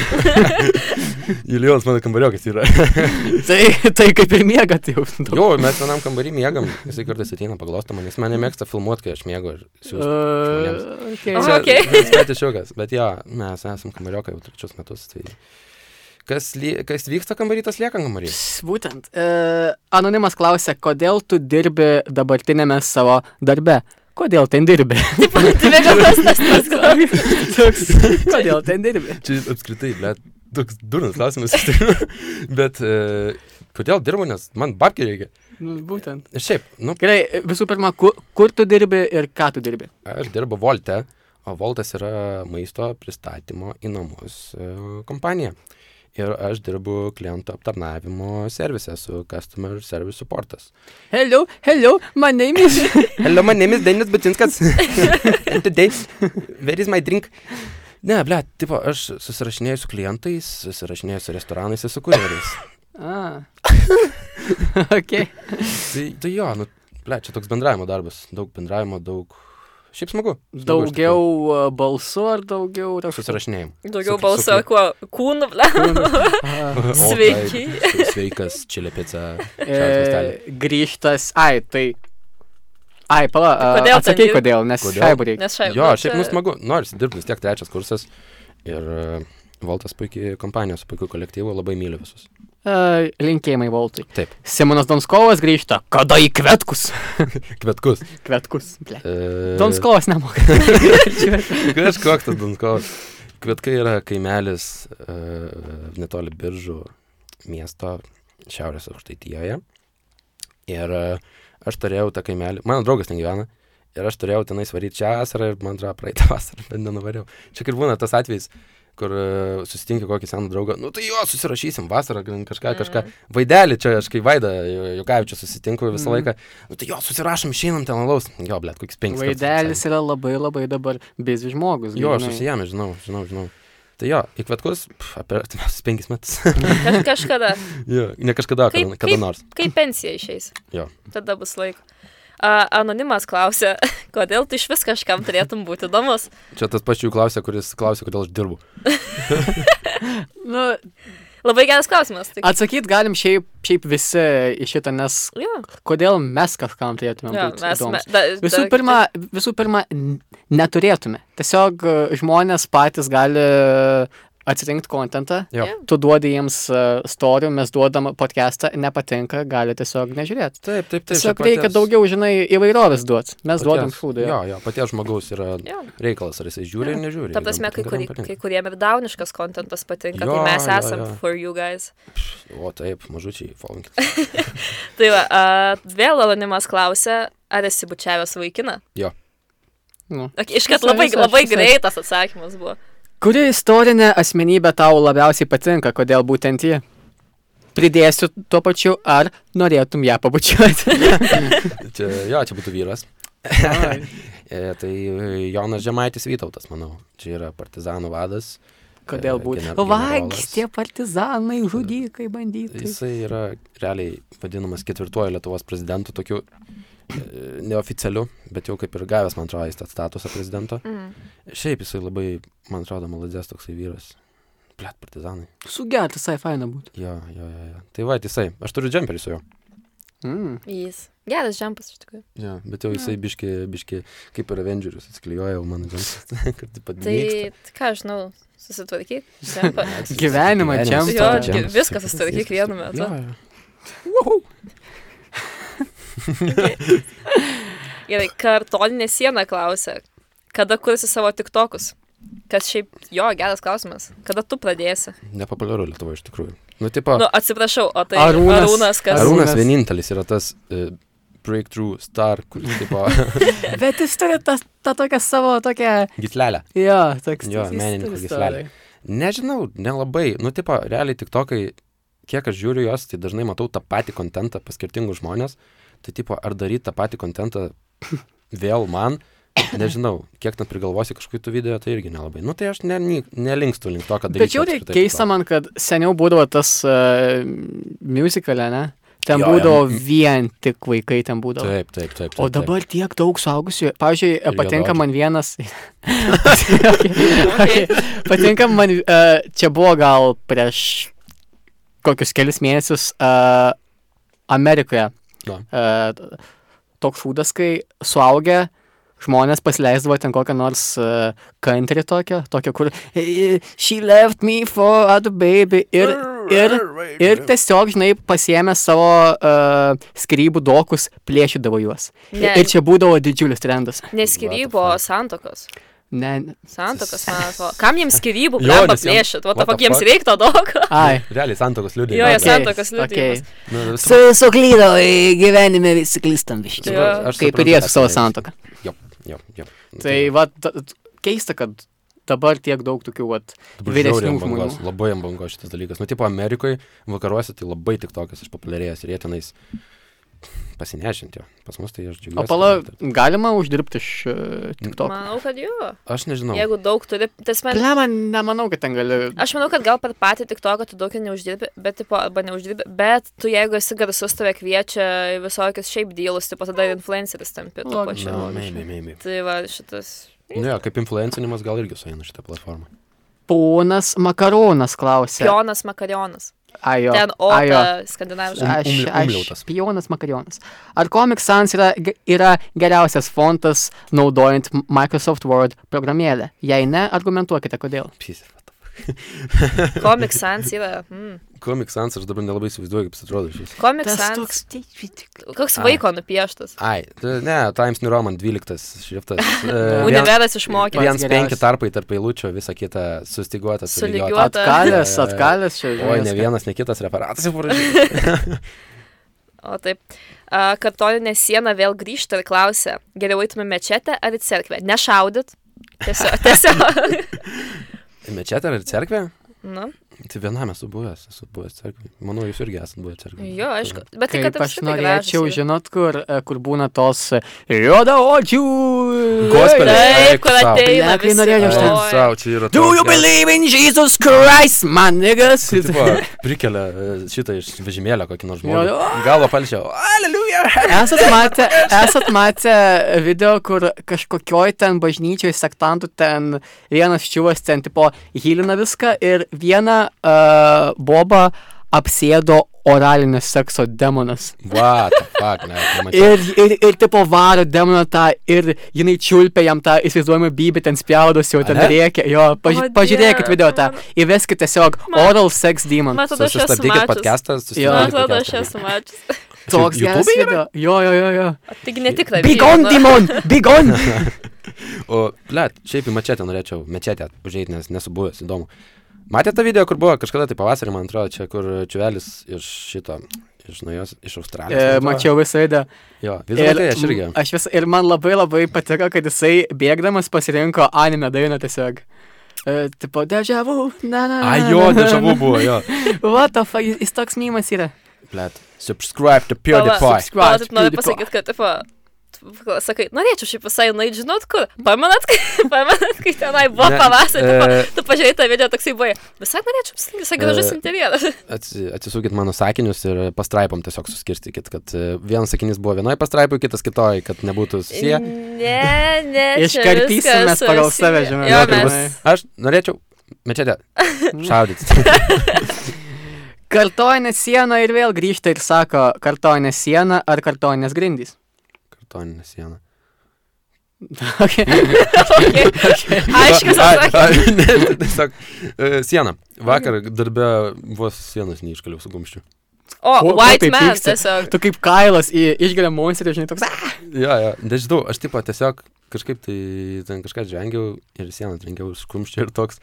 B: Julijonas mano kambariokas yra.
A: tai, tai kaip ir mėgat jau.
B: jo, mes vienam kambarį mėgam. Jisai kartais ateina paglosto man. Jis mane mėgsta filmuoti, kai aš mėgu. ir siųst žmonėms.
A: Uh, okay.
C: Čia- okei.
B: Bet išjukas. Bet jo, mes esam kambariokai jau trečius metus. Tai kas, lie, kas vyksta kambarį, tas lieka kambarį.
A: Pss, Būtent. E, anonimas klausė, kodėl tu dirbi dabartinėme savo darbe? Kodėl ten dirbi?
C: Taip, tai vėliau tas tas klausimas.
A: Toks, kodėl ten dirbi?
B: Čia apskritai, bet toks durnas klausimas. iš tikrųjų. bet e, kodėl dirbu, nes man babkė reikia.
A: Nu, būtent.
B: Ir šiaip, nu,
A: Gerai, visų pirma, kur, kur tu dirbi ir ką tu dirbi?
B: Aš dirbu Volte, o Voltas yra maisto pristatymo į namus e, kompanija. Ir aš dirbu klientų aptarnavimo servise su Customer Service Supportas.
A: Hello, hello, my name is.
B: Hello, my name is Denis Butinskas. And today, where is my drink? Ne, ble, tipo, aš susirašinėjau su klientais, susirašinėjau su restoranais ir su kurjeriais.
A: ah. okay.
B: tai, tai jo, nu, ble, čia toks bendravimo darbas. Daug bendravimo, daug... Šiaip smagu. smagu iš
A: Daugiau e, balsų ar daugiau
B: tikrųjų. Susirašinėjimų.
C: Daugiau
B: Su- su-
C: balso, kuo kūnų, ble.
A: raštų?
B: O,
C: Sveiki.
B: taip, Sveikas, čilipica.
A: E, grįžtas. Ai, tai. Ai, pala,
C: Tai
A: kodėl
C: kodėl
A: atsakei
C: ten dirb-
A: kodėl, nes
B: Kodėl?
A: šaibų reikia.
C: Nes šiaip.
B: Jo,
C: nu,
B: šiaip
C: čia-
B: nu smagu, nors dirbti vis tiek trečias kursas. Ir e, Voltas puikiai kompanija su puikiu kolektyvu, labai myliu visus.
A: E, linkėjimai Voltui.
B: Taip.
A: Simonas Donskovas grįžta. Kada į kvetkus?
B: Kvetkus.
A: Kvetkus. ble.
B: E,
A: Donskovas nemoka.
B: Kažkoks tas Donskovas. Kvetkai yra kaimelis e, netoli biržų miesto šiaurės aukštaitijoje. Ir e, aš turėjau tą kaimelį, mano draugas ten gyvena. Ir aš turėjau tenai svaryti šią vasarą ir man atrodo praeitą vasarą, bet nenuvariau. Čia kaip būna tas atvejis, kur e, susitinki kokį seną draugą, nu tai jo, susirašysim vasarą, gan kažką,
C: Mhm.
B: kažką. Vaidelį čia, aš kai Vaida Jukavičiu susitinku visą laiką, nu tai jo, susirašom, išeinam ten alaus. Jo, blėt, koks penkis. kartus
A: Vaidelis yra labai labai dabar bizi žmogus.
B: Jo, aš
A: grynai.
B: susijame, žinau, žinau, žinau. Tai jo, įkvetkus, apie artimiausius penkis metus.
C: Kaž, kažkada.
B: jo, ne kažkada,
C: Kaip-
B: kada, kada
C: kaip-
B: nors.
C: Kai pensija išeis.
B: Jo.
C: Tada bus laiko. A, anonimas klausė, kodėl tu iš vis kažkam turėtum būti įdomus.
B: Čia tas pačių klausė, kuris klausė, kodėl aš dirbu.
A: Nu,
C: Labai geras klausimas. Tai...
A: atsakyt galim šiaip, šiaip visi į šitą, nes
C: Jo,
A: kodėl mes kažkam turėtume
C: jo,
A: būti
C: mes, me,
A: įdomūs?
C: da,
A: Visų
C: da-
A: pirma, visų pirma, n- neturėtume. Tiesiog e, žmonės patys gali e, atsirinkti kontentą.
B: Jo.
C: Jo.
A: Tu duodi jiems e, story, mes duodam podcastą, nepatinka, gali tiesiog nežiūrėti.
B: Taip, taip, taip.
A: Tiesiog reikia daugiau, žinai, įvairovės duoti. Mes duodam šūdą.
B: šūdą. Jo, jo, paties žmogaus yra
C: Jo.
B: reikalas, ar jisai žiūri ar nežiūri.
C: Ta prasme, kai, kurį, kai kuriem ir dauniškas kontentas patinka, jo,
B: Jo,
C: tai mes
B: jo,
C: esam
B: jo.
C: for you guys.
B: O taip, mažučiai, folkint.
C: Tai va, a, vėl anonimas klausė, ar esi bučiavęs vaikiną.
A: Nu.
C: Okay, Iškart
A: Visai,
C: labai,
A: visai,
C: labai
A: visai.
C: greitas atsakymas buvo.
A: Kuri istorinė asmenybė tau labiausiai patinka, kodėl būtent ji? Pridėsiu tuo pačiu, ar norėtum ją pabučiuoti.
B: Čia, jo, čia būtų vyras. E, tai e, Jonas Žemaitis Vytautas, manau. Čia yra partizanų vadas.
A: Kodėl
B: E,
A: būtent?
B: gener-
A: Vagys,
B: generolas.
A: tie partizanai, žudikai, bandytai.
B: Jisai yra realiai vadinamas ketvirtuoju Lietuvos prezidentu, tokiu e, neoficialiu, bet jau kaip ir gavęs, man atrodo, jis tą statusą prezidento.
C: Mm.
B: Šiaip jisai labai, man atrodo, maladės toksai vyras. Plėt, partizanai.
A: Sugerti, visai faina būtų.
B: Jo, jo, jo, jo. Tai va, jisai. Aš turiu džemperį su juo.
A: Mm.
C: Jis. Geras žempas iš tikrųjų.
B: Jo, bet jau jisai biški, biški, kaip ir Avengerius, atsklijuoja jau mano džemperį. kad taip pat
C: Tai ką aš žinau, susitvarkyk. džempą.
A: Gyvenimą džemperį.
C: Jo,
A: Džempas,
C: gi- viskas susitvarkyk vienu metu. Gerai, kartoninė siena klausė, kada kursi savo tiktokus? Kas šiaip, jo, geras klausimas. Kada tu pradėsi?
B: Nepopuliaru Lietuvoje iš tikrųjų. Nu, tipo,
C: Nu, atsiprašau, o tai
A: Arūnas.
C: Arūnas, Arūnas kas?
A: Arūnas.
B: Arūnas vienintelis yra tas e, breakthrough star, kuris tipo
A: Bet jis turi tą, tą tokią savo, tokią...
B: gitlelę.
A: Jo, toks...
B: Jo,
A: jis turi
B: menininko
A: istoriją.
B: gyslelė. Nežinau, nelabai. Nu, tipo, realiai tik tokai, kiek aš žiūriu jos, tai dažnai matau tą patį kontentą pas skirtingus žmonės. Tai tipo, ar daryti tą patį kontentą vėl man, nežinau, kiek ten prigalvosi kažkokių tų video, tai irgi nelabai. Nu, tai aš ne, ne, nelinkstu link to, kad
A: Tačiau
B: daryčiau. apskritai
A: tai keista
B: to.
A: man, kad seniau būdavo tas uh, musicalė, ne? Ten jo,
B: Jo, jo.
A: būdavo jo. vien tik vaikai ten būdavo.
B: Taip, taip, taip. taip
A: O dabar tiek daug suaugusių. Pavyzdžiui,
B: Ir
A: patinka
B: juodaodžių.
A: man vienas. okay. Patinka man, uh, čia buvo gal prieš kokius kelius mėnesius uh, Amerikoje.
B: Na.
A: Uh, toks šūdas, kai suaugę žmonės pasileisdavo ten kokią nors uh, country tokią, tokią, kur "Eh, She left me for other baby. Ir, ir, ir tiesiog, žinai, pasiemė savo uh, skrybų dokus, plėšydavo juos.
C: Ne.
A: Ir čia būdavo didžiulis trendas.
C: Neskirybo santokos.
A: Ne, ne-
C: Santokos, man atrodo. Kam jiems skirybų,
B: Jo,
C: blemba
B: nes jiem-
C: plėšit? O
B: what the
C: tavo jiems
B: fuck?
C: reikto daug.
A: ai.
B: Realiai santokos liūdė.
C: Jo, jie
A: okei,
C: santuokos liudijimas.
A: okei.
B: Nu,
D: Su, suklydau į gyvenime, visi klystam viškiai.
C: Jo.
B: suprantu, aš
A: Kaip
B: suprantu,
A: ir jie
B: ką
A: su savo
B: tu mėgsti.
A: santoką.
B: Jo, jo, jo.
A: Tai va, ta- t- keista, kad dabar tiek daug tokių, va,
B: Dabar žiauriai
A: vyresnių
B: ant bangos,
A: žmonių.
B: Labai ant bangos šitas dalykas. Nu, tipo, Amerikoje, vakaruose tai labai tik tokas išpopuliarėjęs ir jie tenais pasinešinti jo. Pas mus tai aš džiugiuosi.
A: O pala,
B: kad-
A: galima uždirbti iš e, tik to.
C: Manau, kad jo.
B: Aš nežinau.
C: Jeigu daug turi, tas man...
A: Ble, man nemanau, kad ten gali.
C: Aš manau, kad gal per patį tik to, kad tu daug ir neuždirbi, bet, tipo, arba neuždirbi, bet tu jeigu esi garsus, tave kviečia į visokius šiaip dėlus, tipo, tada ir influenceris tampi tuo pačiu.
A: Logiška.
B: Na, meimė, meimė.
C: Tai va, šitas.
B: Nu, jo, kaip influencinimas gal irgi sueina šitą platformą.
A: Ponas Makaronas klausė.
C: Pionas makarionas.
A: Ajo.
C: Ten
A: ajo.
C: opa skandinaviškas.
A: Aš,
B: Um- umli-
A: aš
B: umliautas.
A: pionas Makarionas. Ar Comic Sans yra, ge- yra geriausias fontas naudojant M- Microsoft Word programėlę? Jei ne, argumentuokite, kodėl.
B: Pysis.
C: Comic Sans yra. Mm.
B: Comic Sans aš dabar nelabai įsivaizduoju, kaip jis atrodo šis.
C: Comic
D: Tas
C: Sans.
D: toks tik.
C: Koks
B: Ai.
C: vaiko nupieštas.
B: Ai, tai ne, Times New Roman 12 šriftas. E, vien-
C: Universas išmokė.
A: vien-
B: Viens penki
A: geriausias.
B: tarpai tarp eilučių, visa kita sustiguota.
C: Sulygiuota.
B: sulygiuota.
C: Duota.
A: Atkalės,
B: Jo, jo, jo.
A: atkalės čia.
B: Oi, ne
A: viską.
B: vienas, ne kitas referatas.
C: O taip. A, Kartoninė siena vėl grįžta ir klausia, geriau eitumėm mečetę ar į cerkvę? Nešaudit. Tiesiog. tiesiog.
B: Mečetė ar cerkvė?
C: nu,
B: Tai vienam esu buvęs, esu buvęs cerkvė. Manau, jūs irgi esate buvę cerkvė.
C: jo, aišku. Bet tai,
A: Kaip
C: kad
A: aš
C: apskritai
A: norėčiau,
C: gražūs yra.
A: žinot, kur, e, kur būna tos juodaodžių.
B: Gospel.
C: Taip,
B: Eik
C: kur
B: sau.
C: ateina.
A: Blet, kai tai norėjau
B: Aš ten
C: Oi.
B: savo, čia yra.
A: Do you
B: tokia-
A: believe in Jesus Christ, man niggas?
B: Tai, tipo, Prikelia e, šitą iš vežimėlio kokį nors žmogų.
A: Jo, jo.
B: Galvo palčiau.
A: Esat matę, esat matę video, kur kažkokioj ten bažnyčioj sektantų ten vienas čiūvas ten tipo hylina viską ir vieną uh, bobą apsėdo oralinio sekso demonas.
B: What the fuck, ne, tai nemačiau.
A: Ir, ir, ir tipo varo demoną tą ir jinai čiulpia jam tą įsivaizduojamą bybį, ten spjaudosi, jau ten
B: Ane?
A: reikia. Jo, paži
C: O,
A: pažiūrėkit
C: Dieve.
A: video tą. Įveskit tiesiog
C: Man-
A: oral sex demon.
C: Matau, aš esu
B: Susistabdykit
C: mačius.
B: podcastą,
A: Jo.
C: Man
B: susistabdykit.
C: atrodo, aš
B: podcastą.
C: esu mačius.
A: Toks
B: Čia
A: geras
B: YouTube yra?
A: video. Jo, jo, jo, jo.
C: O Taigi netikra.
A: Bigon, demon, bigon.
B: O, blėt, šiaip į mečetę norėčiau, mečetę užėjti, nes nesu buvęs, įdomu. Matėte tą video, kur buvo kažkada tai pavasarį, man atrodo, čia kur čiuvelis iš šito, iš naujos, iš Australijos.
A: E,
B: man atrodo.
A: mačiau visą video.
B: Jo, visą laiką aš irgi.
A: m, Aš vis, ir man labai labai patiko, kad jisai bėgdamas pasirinko anime dainą tiesiog. E, tipo, dežavų, na, na.
B: A, jo, dežavų buvo, jo.
A: What the fuck, jis, jis toks mymas yra.
B: Blėt, subscribe to
C: Pala,
B: PewDiePie.
A: Subscribe,
C: Taip, noriu
A: PewDiePie.
C: pasakyti, kad, tipo, tu sakai, norėčiau šiaip visai nueiti, žinot, kur. Pamenat, kai, pamenat, kai tenai buvo
B: Ne,
C: pavasarį, tipo,
B: e,
C: tu pažiūrėjai tą video, toksai buvo. Visai norėčiau, apsilankyt, visai gražus
B: E,
C: interjeras.
B: Atsi, atsisukit mano sakinius ir pastraipom tiesiog suskirstykit, kad e, vienas sakinys buvo vienoje pastraipoje, kitas kitoje, kad nebūtų susiję.
C: Mm, Ne, ne. čia
A: Iškarpysim
C: viskas
A: mes pagal
C: susiję.
A: save, žinai.
C: Jo,
A: Jo,
B: tai
C: mes.
A: bus-
B: Aš norėčiau, mečetė, šaudyti.
A: Kartoinė siena ir vėl grįžta ir sako, kartoinė siena ar kartoinės grindys.
B: Kartoninė siena.
A: Okay.
C: Aiškus atsakymas.
B: atsakymas. Tiesiog e, siena. Vakar darbe vos sienas neiškaliau su gumščiu.
C: O,
A: Ko- tai ko
C: white
A: taip
C: man
A: pyksti?
C: tiesiog.
A: Tu kaip kailas į išgelia monsterį, žinai, toks. "Ah!"
B: Ja, ja. Nežinau, aš tipo tiesiog kažkaip tai ten kažką džengiau ir sieną trenkiau su gumščiu ir toks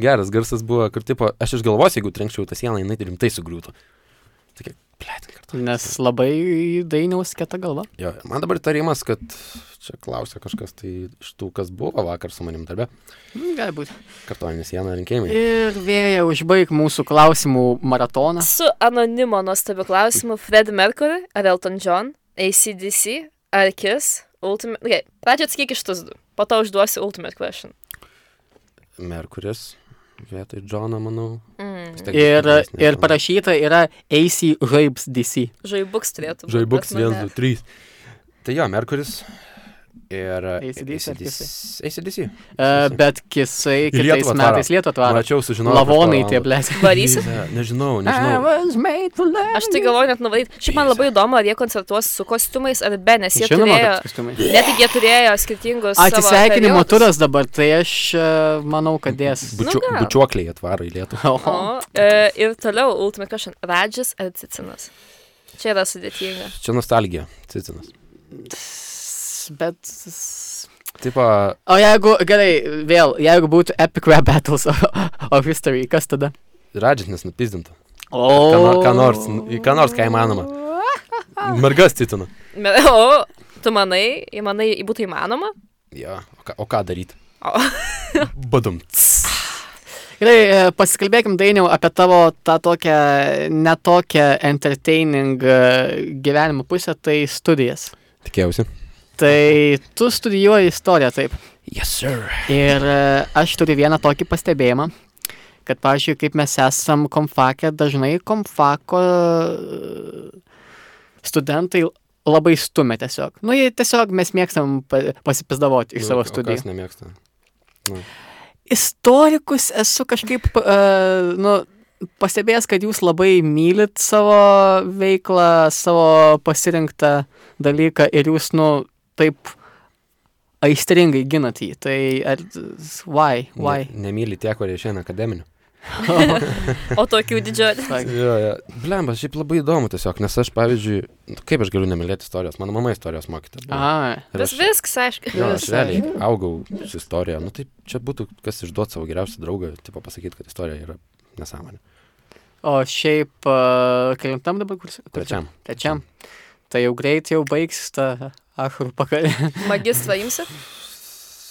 B: geras garsas buvo, kur tipo aš iš galvos, jeigu trenkčiau tą sieną, jinai rimtai sugriūtų. Tokia, plėtin kartu.
A: Nes labai dainiaus kieta galva.
B: Jo, jo. man dabar tarimas, kad čia klausia kažkas, tai iš tų, kas buvo vakar su manim darbe,
A: Mm, Gali būti.
B: kartoninė siena rinkėjimai.
A: Ir vėja užbaig mūsų klausimų maratoną.
C: Su anonimo nuostabiu klausimu Fred Mercury ar Elton John, ACDC ar Kiss, Ultimate... Gerai, okay, pradžio atsakyk iš tos du, po to užduosiu Ultimate Question.
B: Merkuris vietoj Džono, manau.
C: Mm.
B: Vis tiek
A: Ir,
B: biškį didesnė
A: ir
B: Džono.
A: parašyta yra AC Žaibs DC.
C: Žaibuks turėtų būti.
B: Žaibuks
C: bet nu
B: 1,
C: ne.
B: 2, 3. Tai jo, Merkuris. Ir
A: AC/DC ar
B: ACDC.
A: Uh, bet kisai
B: Į
A: kitais
B: Lietuvą atvaro.
A: metais lietu atvaro.
B: Mačiau, sužinojau.
A: Lavonai
B: prieš porą
A: tie,
B: valandų.
A: blės.
C: Varysi?
B: Ne, Nežinau,
A: I
B: nežinau.
A: was made to love
C: Aš tai galvoju net nuvaryti. Šiaip man labai įdomu, ar jie koncertuos su kostiumais ar be, nes
A: you.
C: jie
A: Žinoma,
C: turėjo...
A: kad kostiumai.
C: Net tik jie turėjo skirtingus... savo
A: Atsisveikinimo
C: periodus.
A: turas dabar, tai aš e, manau, kad dės.
B: Bučio,
C: Nu gal.
B: bučiuokliai atvaro į Lietuvą.
A: Oho.
C: O, e, ir toliau Ultimate Question. Radžis ar Cicinas? Čia yra sudėtinga.
B: Čia nostalgija, Cicinas.
A: S- Bet. s-
B: Tipo,
A: O jeigu, gerai, vėl, jeigu būtų Epic Rap Battles of History, kas tada?
B: Radžis nespizdintų. Ką
A: O.
B: nor- ką nors, į ką nors, ką įmanoma. Mergas Cicina.
C: Me- O, tu manai, į- manai, į- būtų įmanoma?
B: Jo, o ką, o ką daryti?
C: O.
B: Badum.
A: Gerai, e, pasikalbėkim dainiau apie tavo tą tokią, netokią entertaining e, gyvenimo pusę, tai studijas.
B: Tikėjausi.
A: Tai tu studijuoji istoriją, taip.
B: Yes, sir.
A: Ir e, aš turiu vieną tokį pastebėjimą, kad, pavyzdžiui, kaip mes esam komfakė, dažnai komfako e, studentai labai stumia tiesiog. Nu, jie tiesiog mes mėgstam pa-
B: Nu,
A: pasipizdavoti iš savo studijų.
B: Aš nemėgstu.
A: istorikus esu kažkaip, uh, nu, pastebėjęs, kad jūs labai mylit savo veiklą, savo pasirinktą dalyką ir jūs, nu, taip aistringai ginat jį. Tai ar, why, why?
B: Ne, nemyli tie, kurie šiandien akademinių.
C: O tokių didžioji.
A: Like,
B: Jo, jo. Blemba, šiaip labai įdomu tiesiog, nes aš, pavyzdžiui, nu, kaip aš galiu nemylėti istorijos, mano mama istorijos mokyta.
A: aha,
C: Vis viskas, aišku.
B: Jo, aš
A: visai.
B: realiai augau su istorija. Nu tai čia būtų kas išduot savo geriausią draugą, tipo pasakyti, kad istorija yra nesąmonė.
A: o šiaip, uh, e, kelintam dabar kursi? kursi?
B: Trečiam.
A: Trečiam. Tai jau greit jau baigs tą ahrų pakalį.
C: Magistrą imsi?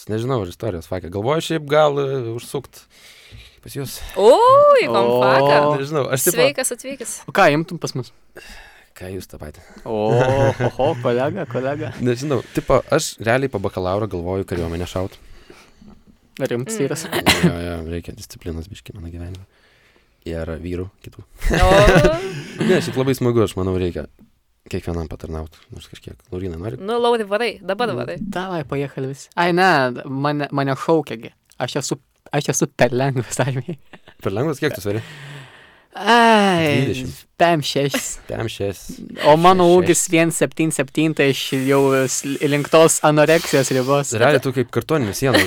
B: Nežinau, ar istorijos fakė. Galvoju, šiaip gal e, užsukt pas jūs.
C: Ui, kompaką.
A: O.
B: Nežinau, aš taip.
C: Sveikas atvykęs.
A: O ką imtum pas mus?
B: Ką jūs tą patį?
A: O, oho, kolega, kolega.
B: Nežinau, tipo, aš realiai po bakalauro galvoju kariuomenę šaut.
A: Rimtas vyras.
B: Jo, jo, reikia disciplinos biški mano gyvenime. Ir vyrų kitų.
C: O,
B: Ne, šiaip labai smagu, aš manau, reikia kiekvienam patarnauti. Nors kažkiek. Laurinai, nori?
C: nu, lauri varai,
B: Mm.
C: dabar varai.
A: Davai, pajėkal visi. Ai, ne, mane, mane šaukiagi. Aš esu, aš esu per lengvas, armiai.
B: Per lengvas, kiek tu sveri?
A: Ai,
B: 20.
A: pėm šešis.
B: Pem šes.
A: O mano
B: Šeši.
A: ūgis 1,77, tai aš jau s- link tos anoreksijos ribos.
B: Realiai tu kaip kartoninis sienas.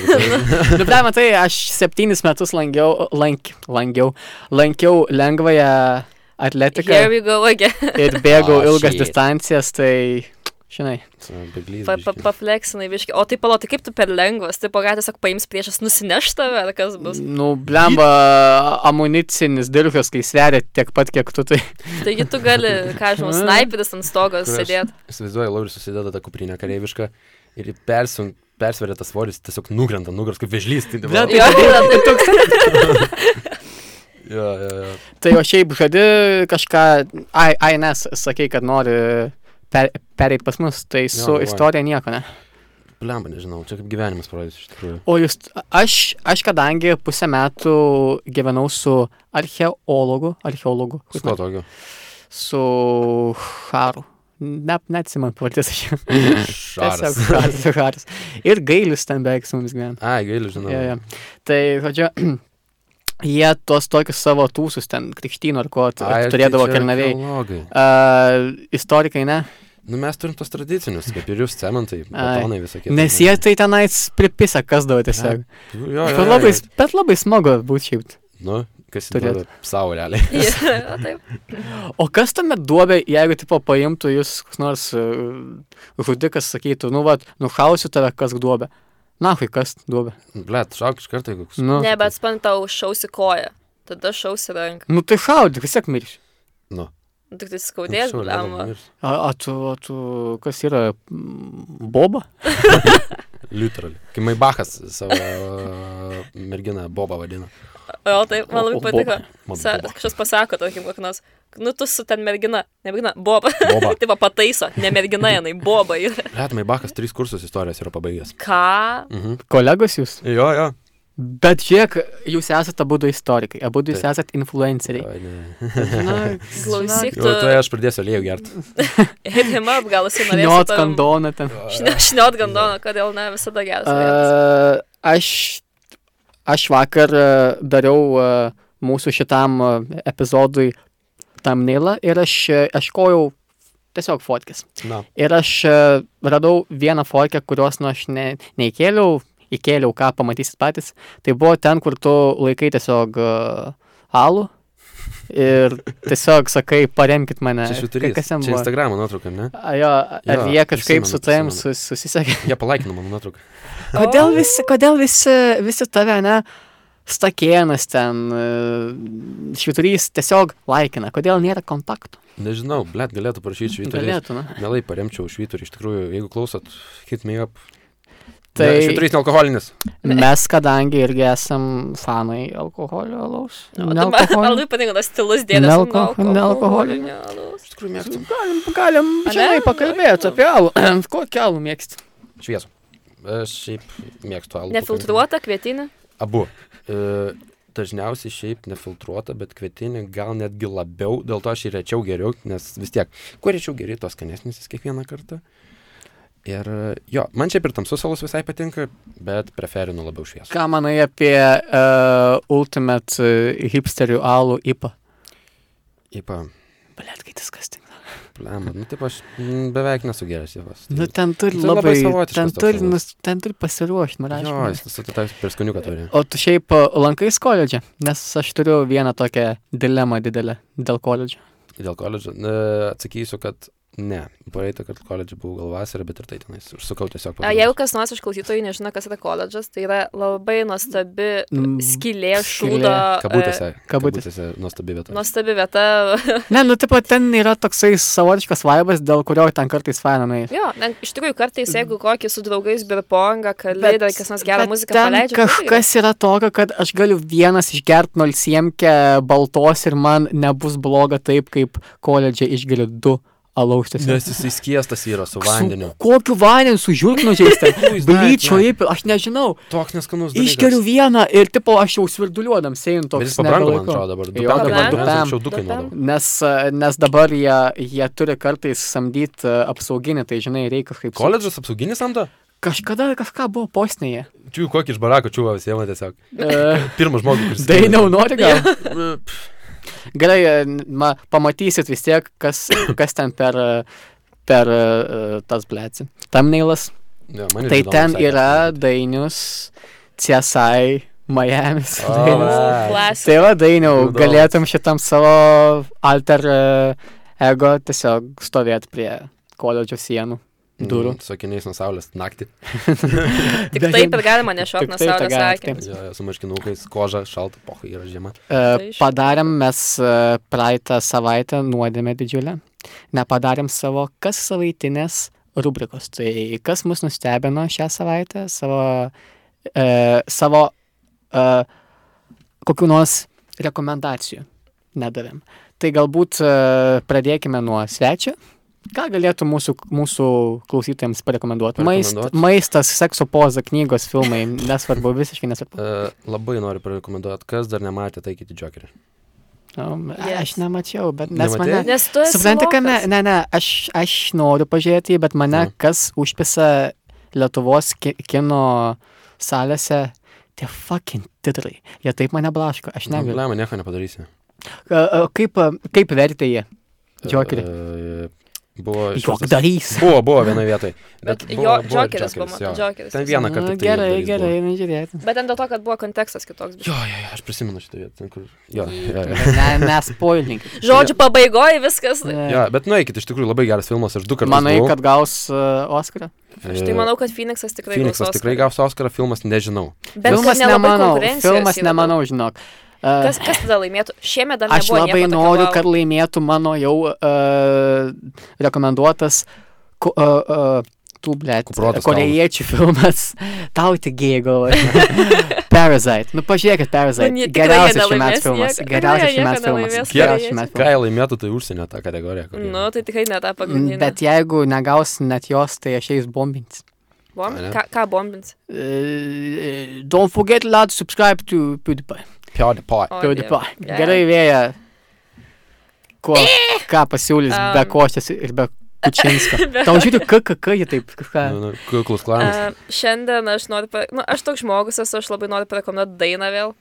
A: Nu, blema, tai aš septynis metus lankiau, lank, lankiau, lankiau lengvąją
C: Here
B: Tai
A: atletiką
C: we go again.
A: ir bėgau
B: Oh,
A: ilgas
B: shit.
A: distancijas, tai, žinai,
B: Beglys.
C: Pa, pa, Pafleksinai, biški. O tai palo, tai kaip tu per lengvas? Tai pagal tiesiog paims priešas nusineš tave, ar kas bus?
B: Mm.
A: nu, blemba, amunicinis dirvius, kai sveria tiek pat, kiek tu, tai
C: Taigi tu gali, ką aš žinau, sniperis ant stogo
B: Kur aš-
C: sėdėti.
B: Įsivaizduoju, Lauris susideda tą kuprinę kareivišką ir persun, persveria tas svoris, tiesiog nukrenta, nugras kaip vežlys. Tai dabar.
A: tai tada tu toks.
B: Jo, jo, jo.
A: Tai o šiaip žadi kažką, ai, ai, nes sakei, kad nori per, pereit pas mus, tai
B: Jo,
A: su
B: galvoju.
A: istorija nieko, ne?
B: Blemba, nežinau, čia kaip gyvenimas parodys iš tikrųjų.
A: O jūs, aš, aš kadangi pusę metų gyvenau su archeologu, archeologu,
B: Su ko tokio?
A: su Haru. Ne, neatsimam pavardės aš. jau. Tiesiog
B: Šaras.
A: Haras. Haras. Ir gailis ten beveik su mums gyvena.
B: Ai, gailiu, žinau.
A: Jo, jo. Tai, žodžiu, jie tuos tokius savo tūsus ten, krikštynų ar ko t-
B: Ai,
A: turėdavo
B: tai čia
A: kelnaviai.
B: archeologai.
A: Uh, istorikai, ne?
B: Nu, mes turim tos tradicinius, kaip ir jūs, cementai,
A: Ai.
B: betonai visokie.
A: Nes jie tai tenais pripisa, kas davo tiesiog.
B: Jo, jo,
A: Bet
B: jo,
A: labai,
B: jo.
A: bet labai smagu būti šiaip.
B: Nu, kas
A: Turėtų.
B: turėtų savo realiai.
C: O taip.
A: O kas tame duobė, jeigu, tipo, paimtų jūs, koks nors e, žudikas, sakytų, nu, va, nušausiu tave, kas duobė. Na, kai kas duobė.
B: Blet, šauk iš karto, jeigu koks.
A: Nu,
C: Ne, bet spant tau šausi koją. Tada šausi ranką.
A: nu tai šaudyk, vis tiek mirš.
B: Nu.
C: Tik tai skaudės,
B: anksčiau realiai
C: blamba.
B: mirs.
A: A, a, tu, a tu, kas yra mm, boba?
B: Literally. Kai Maibachas savo uh, merginą Bobą vadina.
C: O taip, man
A: O,
C: labai
A: o,
C: patiko.
B: Man
C: Sa-
B: Boba.
C: Kažkas pasako, tarkim, kokį nors, nu tu su ten mergina, ne mergina, boba.
B: Boba.
C: Taip, va, pataiso, ne mergina, jinai boba. Ir...
B: Blet, Maibachas tris kursus istorijos yra pabaigęs.
C: Ką?
B: Mhm.
A: Kolegos jūs.
B: Jo, jo.
A: Bet žiūrėk, jūs esate abu du istorikai, abu du jūs
B: Taip.
A: esate influenceriai.
B: Oi, Tai ne.
A: Na,
C: Klausyk,
B: Jau
C: tu
B: tuoj aš pradėsiu aliejų gerti.
C: eidama apgalusi
A: Niot kandoną ten.
C: Šniot gandono, kodėl ne visada geras. variantas.
A: A, aš, aš vakar a, dariau a, mūsų šitam a, epizodui tamnilą ir aš a, ieškojau tiesiog fotkis.
B: Na,
A: Ir aš a, radau vieną fotkę, kurios nu aš ne, neįkėliau, įkėliau, ką pamatysit patys. Tai buvo ten, kur tu laikai tiesiog a, alų. Ir tiesiog sakai, paremkit mane.
B: čia švyturys.
A: Kas ten
B: Čia
A: buvo?
B: Instagramo nuotrauka, ne?
A: A, Jo, ar
B: Jo,
A: jie kažkaip
B: prisimenu,
A: su tavim
B: prisimenu.
A: sus- susisiekė?
B: Jie palaikino mano nuotrauką.
C: O.
A: Kodėl visi, kodėl visi, visi tave, ne, stakienas ten, e, švyturys tiesiog laikina, kodėl nėra kontaktų?
B: Nežinau, blet, galėtų parašyti švyturį.
A: Galėtų, na.
B: Mielai paremčiau švyturį. Iš tikrųjų, jeigu klausot, hit me up. Tai...
A: Tai-
B: Švyturys nealkoholinis.
A: Mes, kadangi irgi esam fanai alkoholio alaus.
C: O tai man- man labai patinka tas stilus dėdės.
A: Nealko- nealkoholinio.
C: alaus.
B: Iš tikrųjų, mėgstu.
A: Galim, galim
C: žinai, pakalbėt
A: apie alų. Kokį alų mėgsti?
B: Šviesų. Aš šiaip mėgstu alų.
C: Nefiltruota kvietinė.
B: pakankamai. Abu. E, dažniausiai šiaip nefiltruota, bet kvietinė gal netgi labiau, dėl to aš ir rečiau geriau, nes vis tiek, kuo rečiau geriau, tos skanesnis jis kiekvieną kartą. Ir e, jo, man šiaip ir tamsus alus visai patinka, bet preferinu labiau šviesų.
A: Ką manai apie uh, Ultimate e, hipsterių alų IPA?
B: Ypa,
A: Blet, kai tas kas tinka.
B: plema, nu taip aš mm, beveik nesu geras jėvas.
A: Nu, ten turi
B: Tai labai
A: labai, labai
B: savotiškas
A: ten
B: toks
A: turi,
B: alus.
A: nus, ten turi nu, pasiruošti, man
B: Tai Jo,
A: aišku.
B: jis visą tą perskoniuką turi.
A: O tu šiaip a, lankais koledžą, nes aš turiu vieną tokią dilemą didelę dėl koledžo.
B: Dėl koledžo. E, atsakysiu, kad Ne, praeitą kartą koledžiai buvau gal vasarą, bet ir tai tenais. Užsukau tiesiog.
C: A, Jeigu kas nors iš klausytojų nežino, kas yra koledžas, tai yra labai nuostabi
A: Mm,
C: skylė,
A: skylė.
C: šūdo. e,
B: Kabutėse.
A: kabutėse.
B: Kabutėse nuostabi vieta.
C: Nuostabi vieta.
A: Ne, nu, tipo, ten yra toksai savotiškas vaibas, dėl kurio ten kartais fainamai.
C: jo, ten, iš tikrųjų kartais, jeigu kokį su draugais birpongą, kalėdą, kas nors gerą muziką tai
A: ten
C: paleidžia.
A: Kažkas yra tokio, kad aš galiu vienas išgerti 07 baltos ir man nebus bloga taip, kaip koledžiai išgeriu du alaukštės.
B: Nes jisai skiestas yra su vandeniu.
A: Kokiu vandeniu su žirknu žaisti?
B: jis
A: Blyčio
B: net,
A: įpil, aš nežinau.
B: Toks neskanus. dalykas.
A: Išgeriu vieną ir tipo aš jau svirduliuodam sėjant
B: Bet
A: toks.
B: jis pabrango, man
A: nebelaikau.
B: atrodo, dabar. Du
A: Jo,
B: penki,
C: dabar
B: man
C: du
B: du
A: pem.
B: anksčiau du
C: Du pem.
B: kainuodavo.
A: Nes, e, nes dabar jie, jie turi kartais samdyti e, apsauginį, tai žinai, reikia kažkaip...
B: Koledžas apsauginis samdo?
A: Kažkada kažką buvo posnėje.
B: Čiū, kokį iš barako čiūvą visiems tiesiog.
A: E,
B: Pirmas žmogus, kuris.
A: Dainau nori gal? Gerai, e, n- ma, pamatysit vis tiek, kas, kas ten per, e, per e, tas blėtsi. Tamneilas.
B: Ne, man
A: Tai ten yra dainius CSI Miami's.
C: Oh,
B: O,
A: dainius.
B: va.
C: Klasika.
A: Tai va, dainiau,
B: Liūdnos.
A: galėtum šitam savo alter e, ego tiesiog stovėti prie koledžio sienų. durų.
B: Sakiniais Mm, nuo saulės naktį.
A: Bet-
C: Tik taip ir galima nešiot
A: Tik
C: nuo
A: taip tą
C: saulės
A: galima,
C: akį.
A: taip.
B: Jo, jo, Su marškinukais, koža, šalta, poha, yra žiema.
A: E,
C: iš-
A: Padarėm mes e, praeitą savaitę nuodėmę didžiulę. Nepadarėm savo kas savaitinės rubrikos. Tai kas mus nustebino šią savaitę savo, e, savo e, kokiu nors rekomendacijų nedavėm. Tai galbūt e, pradėkime nuo svečio. Ką galėtų mūsų, mūsų klausytėms parekomenduoti? Maist,
B: Parekomenduot?
A: maistas, sekso poza, knygos, filmai, nesvarbu, visiškai nesvarbu.
B: E, Labai noriu parekomenduoti, kas dar nematė, tai kiti džokeriai.
A: Um, Aš
C: Yes.
A: nemačiau, bet nes
B: Nematei?
A: mane,
C: Nes tu esi.
A: Supranti, kad ne,
C: lochas.
A: ne, ne aš, aš noriu pažiūrėti, jį, bet mane
B: Mm.
A: kas užpisa Lietuvos ki kino salėse, tie fucking titrai. Jie taip mane blaško, aš negaliu.
B: Problema, nieko nepadarysi.
A: Ka- a, Kaip, a, kaip vertė jie? Džokeriai.
B: E, Buvo. išverstas-
A: Jokdarys.
B: Buvo, buvo vienoje vietoje.
C: Bet
B: Bet
C: jo,
B: buvo- buvo ir
C: džokeris buvo,
B: jo.
C: man džokeris.
B: Ten vieną kartą.
A: Nu,
B: tai
A: gerai,
B: džokeris
A: gerai, nežiūrėti.
C: Bet ten dėl to, kad buvo kontekstas kitoks.
B: buvo. Jo, jo, jo, aš prisimenu šitą vietą. ten, Kur... Jo, jo, jo.
A: Ne, nespoilink.
C: Žodžių pabaigoje viskas.
B: Jo, bet nueikit, iš tikrųjų labai geras filmas, aš du kartus.
A: Manai,
B: buvau. E,
A: kad gaus uh, Oskarą?
C: Aš tai manau, kad Phoenixas tikrai gaus
B: Phoenixas tikrai gaus Oscarą, filmas nežinau.
C: Oscarą. Bet
A: filmas
C: kad nelabai
A: nemanau,
C: konkurencijos
A: filmas
C: yra daug.
A: nemanau, žinok. Uh,
C: Kas, kas tada laimėtų? Šiemet dar
A: Aš
C: nebuvo.
A: labai
C: nieko tokio,
A: noriu,
C: vau.
A: kad laimėtų mano jau uh, rekomenduotas ko, uh, uh, tų, blėt,
B: Kuprotas
A: korejiečių filmas. Tau tik gėgo. Parasite. Nu, pažiūrėkit, Parasite.
C: Nu, jie tikrai jie
A: Geriausias šių metų
C: nelaimės
A: filmas.
C: nieko. Ne,
A: Geriausias šių
C: nieko
A: metų filmas.
C: nelaimės
A: Geriausias šių
C: korejiečiai.
A: metų
B: Ką
A: filmas.
B: jie laimėtų, tai užsienio tą kategoriją. kokią.
C: Nu, tai tikrai ne tą
A: Mm,
C: pagrindinę.
A: Bet jeigu negaus net jos, tai aš eis bombins.
C: Bom...
B: Ane?
C: Ką, ką bombins?
A: Uh, don't forget, lad, subscribe to PewDiePie.
B: PewDiePie.
C: O,
A: PewDiePie.
C: Dieve.
A: Gerai vėja. Ko, ką pasiūlys
C: Am.
A: be košės ir be kučinsko.
C: Dieve.
A: Tau žiūri, KKK, jie taip kažką.
B: Nu, nu, Kuklus klanas.
C: A, šiandien aš noriu, pa... nu, aš toks žmogus esu, aš labai noriu parekomenduoti dainą vėl,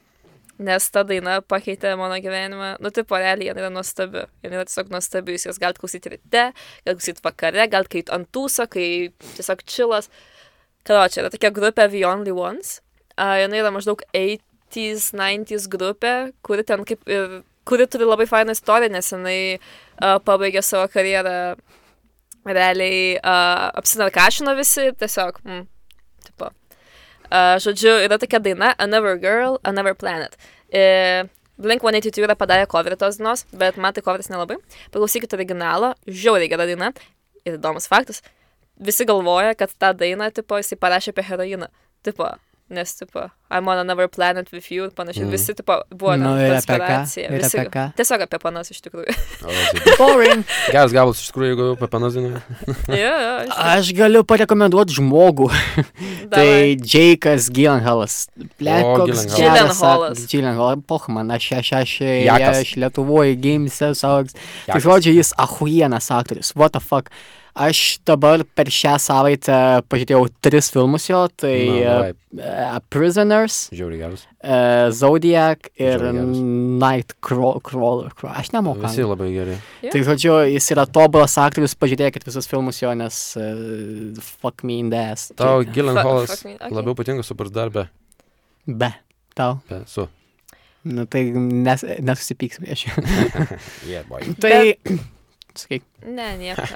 C: nes ta daina pakeitė mano gyvenimą. Nu, tai porelė, jie yra nuostabi. Jie yra tiesiog nuostabi, jūs jas galite klausyti ryte, galite klausyti vakare, galite kai ant tūso, kai tiesiog čilas. Karo, čia yra tokia grupė The Only Ones. Uh, Jis yra maždaug 80s, 90s grupė, kuri ten kaip ir kuri turi labai fainą istoriją, nes jinai uh, pabaigė savo karjerą realiai uh, apsinarkašino visi, tiesiog, mm, tipo. Uh, žodžiu, yra tokia daina Another Girl, Another Planet. Uh, Blink 182 yra padarę coverį tos dainos, bet man tai coveris nelabai. Paklausykite originalo, žiauriai gera daina. Ir įdomus faktas, visi galvoja, kad tą dainą, tipo, jisai parašė apie heroiną. Tipo, nes, tipo, I'm on another planet with you ir panašiai.
B: Mhm.
C: Mm. Visi, tipo, buvo
A: Nu,
C: nu,
A: ir apie ką?
C: konspiracija.
A: Ir
C: Visi-
A: apie ką?
C: Tiesiog apie panas iš tikrųjų.
B: O, tai-
A: Boring.
B: Geras gabalas, iš tikrųjų, jeigu apie panazinu.
C: jo, jo, iš
A: Aš galiu parekomenduoti žmogų.
C: tikrųjų.
A: Tai Jake'as Gilenhalas.
B: O,
A: Plekoks
B: Gyllenhaalas.
C: Gyllenhaalas.
A: Gilenhalas. Pochman, aš aš aš
B: Jakas.
A: aš Lietuvoje gimsiu, saugs. Tai
B: Jakas.
A: žodžiu, jis ahujienas aktorius. What the fuck. Aš dabar per šią savaitę pažiūrėjau tris filmus jo. Tai
B: Na, nu,
A: e, e, Prisoners,
B: Žiauriai geras.
A: e, Zodiac ir
B: Žiauriai geras.
A: Nightcrawler. Aš nemoku.
B: Visi labai geri.
A: Tai žodžiu, jis yra tobulas aktorius, pažiūrėkit visus filmus jo, nes uh, fuck me in the ass.
B: Tau
A: Tai-
C: Fuck,
B: Gilenholas
C: fuck me, okay.
B: labiau patinka su pardarbė.
A: Be. Tau.
B: Su.
A: Nu tai nes, nesusipyksim iš jo.
B: Yeah, boy.
A: Tai Sakyk.
C: Ne, nieko.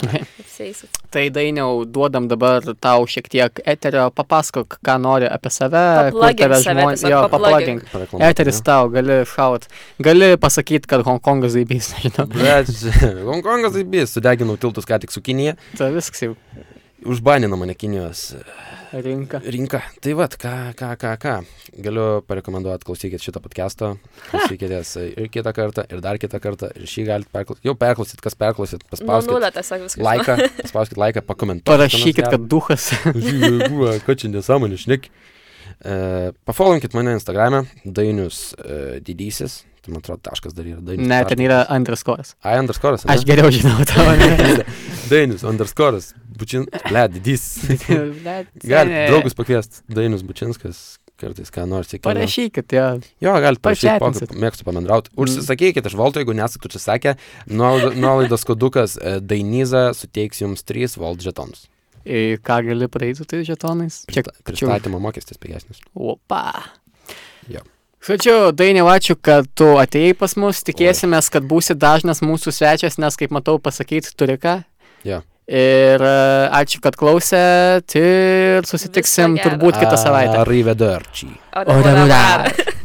C: Apsieisiu.
A: Tai dainiau, duodam dabar tau šiek tiek eterio, papasakok, ką nori apie save, kur
C: Paplagink
A: tave
C: save
A: žmonės.
C: tiesiog,
A: Jo,
C: paplagink.
A: paplagink. Eteris tau, gali šaut. Gali pasakyti, kad Hongkongas įbys, nežinau.
B: Bet Hongkongas taip jis, sudeginau tiltus ką tik su Kinija,
A: Tai viskas jau
B: užbanino mane Kinijos
A: rinka.
B: rinka. Tai vad, ką, ką, ką, ką. Galiu parekomenduoti, klausykit šitą podcastą, klausykitės ir kitą kartą, ir dar kitą kartą, ir šį galite perklausyti. Jau perklausyt, kas perklausyt,
C: Nu,
B: paspauskit
C: nulė tiesiog viskas.
B: laiką, paspauskit laiką, pakomentuokit.
A: Parašykit, kad duhas.
B: Žiūrėk, kad čia nesąmonė, šnek. E, Pafollowinkit mane Instagram'e, dainius e, didysis, tai man atrodo taškas dar yra dainius.
A: Ne, ten yra underscores.
B: A, underscore'as. ane?
A: Aš geriau žinau tavo.
B: Dainius, underscore'as, bučin, bled, didys. Galit draugus pakviesti, Dainius Bučinskas, kartais ką nors įkvėpti.
A: Parašykit, jo.
B: Jo, galite parašyti,
A: Pačatinsit.
B: pokalbį, mėgstu pamendrauti.
A: Mm.
B: Užsisakykit iš Valto, jeigu nesakau, čia sakė, nuolaid- nuolaidos kodukas e, Dainiza suteiks jums 3 Valt žetonus.
A: Į E, ką gali praeiti tais žetonais? Čia
B: Prista- Pristatymo mokestis pigesnis.
A: Opa.
B: Jo.
A: Žodžiu, Dainiau, ačiū, kad tu atėjai pas mus. Tikėsimės, kad būsi dažnas mūsų svečias, nes, kaip matau, pasakyti turi ką.
B: Jo.
A: Ir e, ačiū, kad klausėt ir susitiksim
C: Viso gero.
A: turbūt kitą savaitę.
B: Arrivederčiai.
C: O dabar.
A: dabar.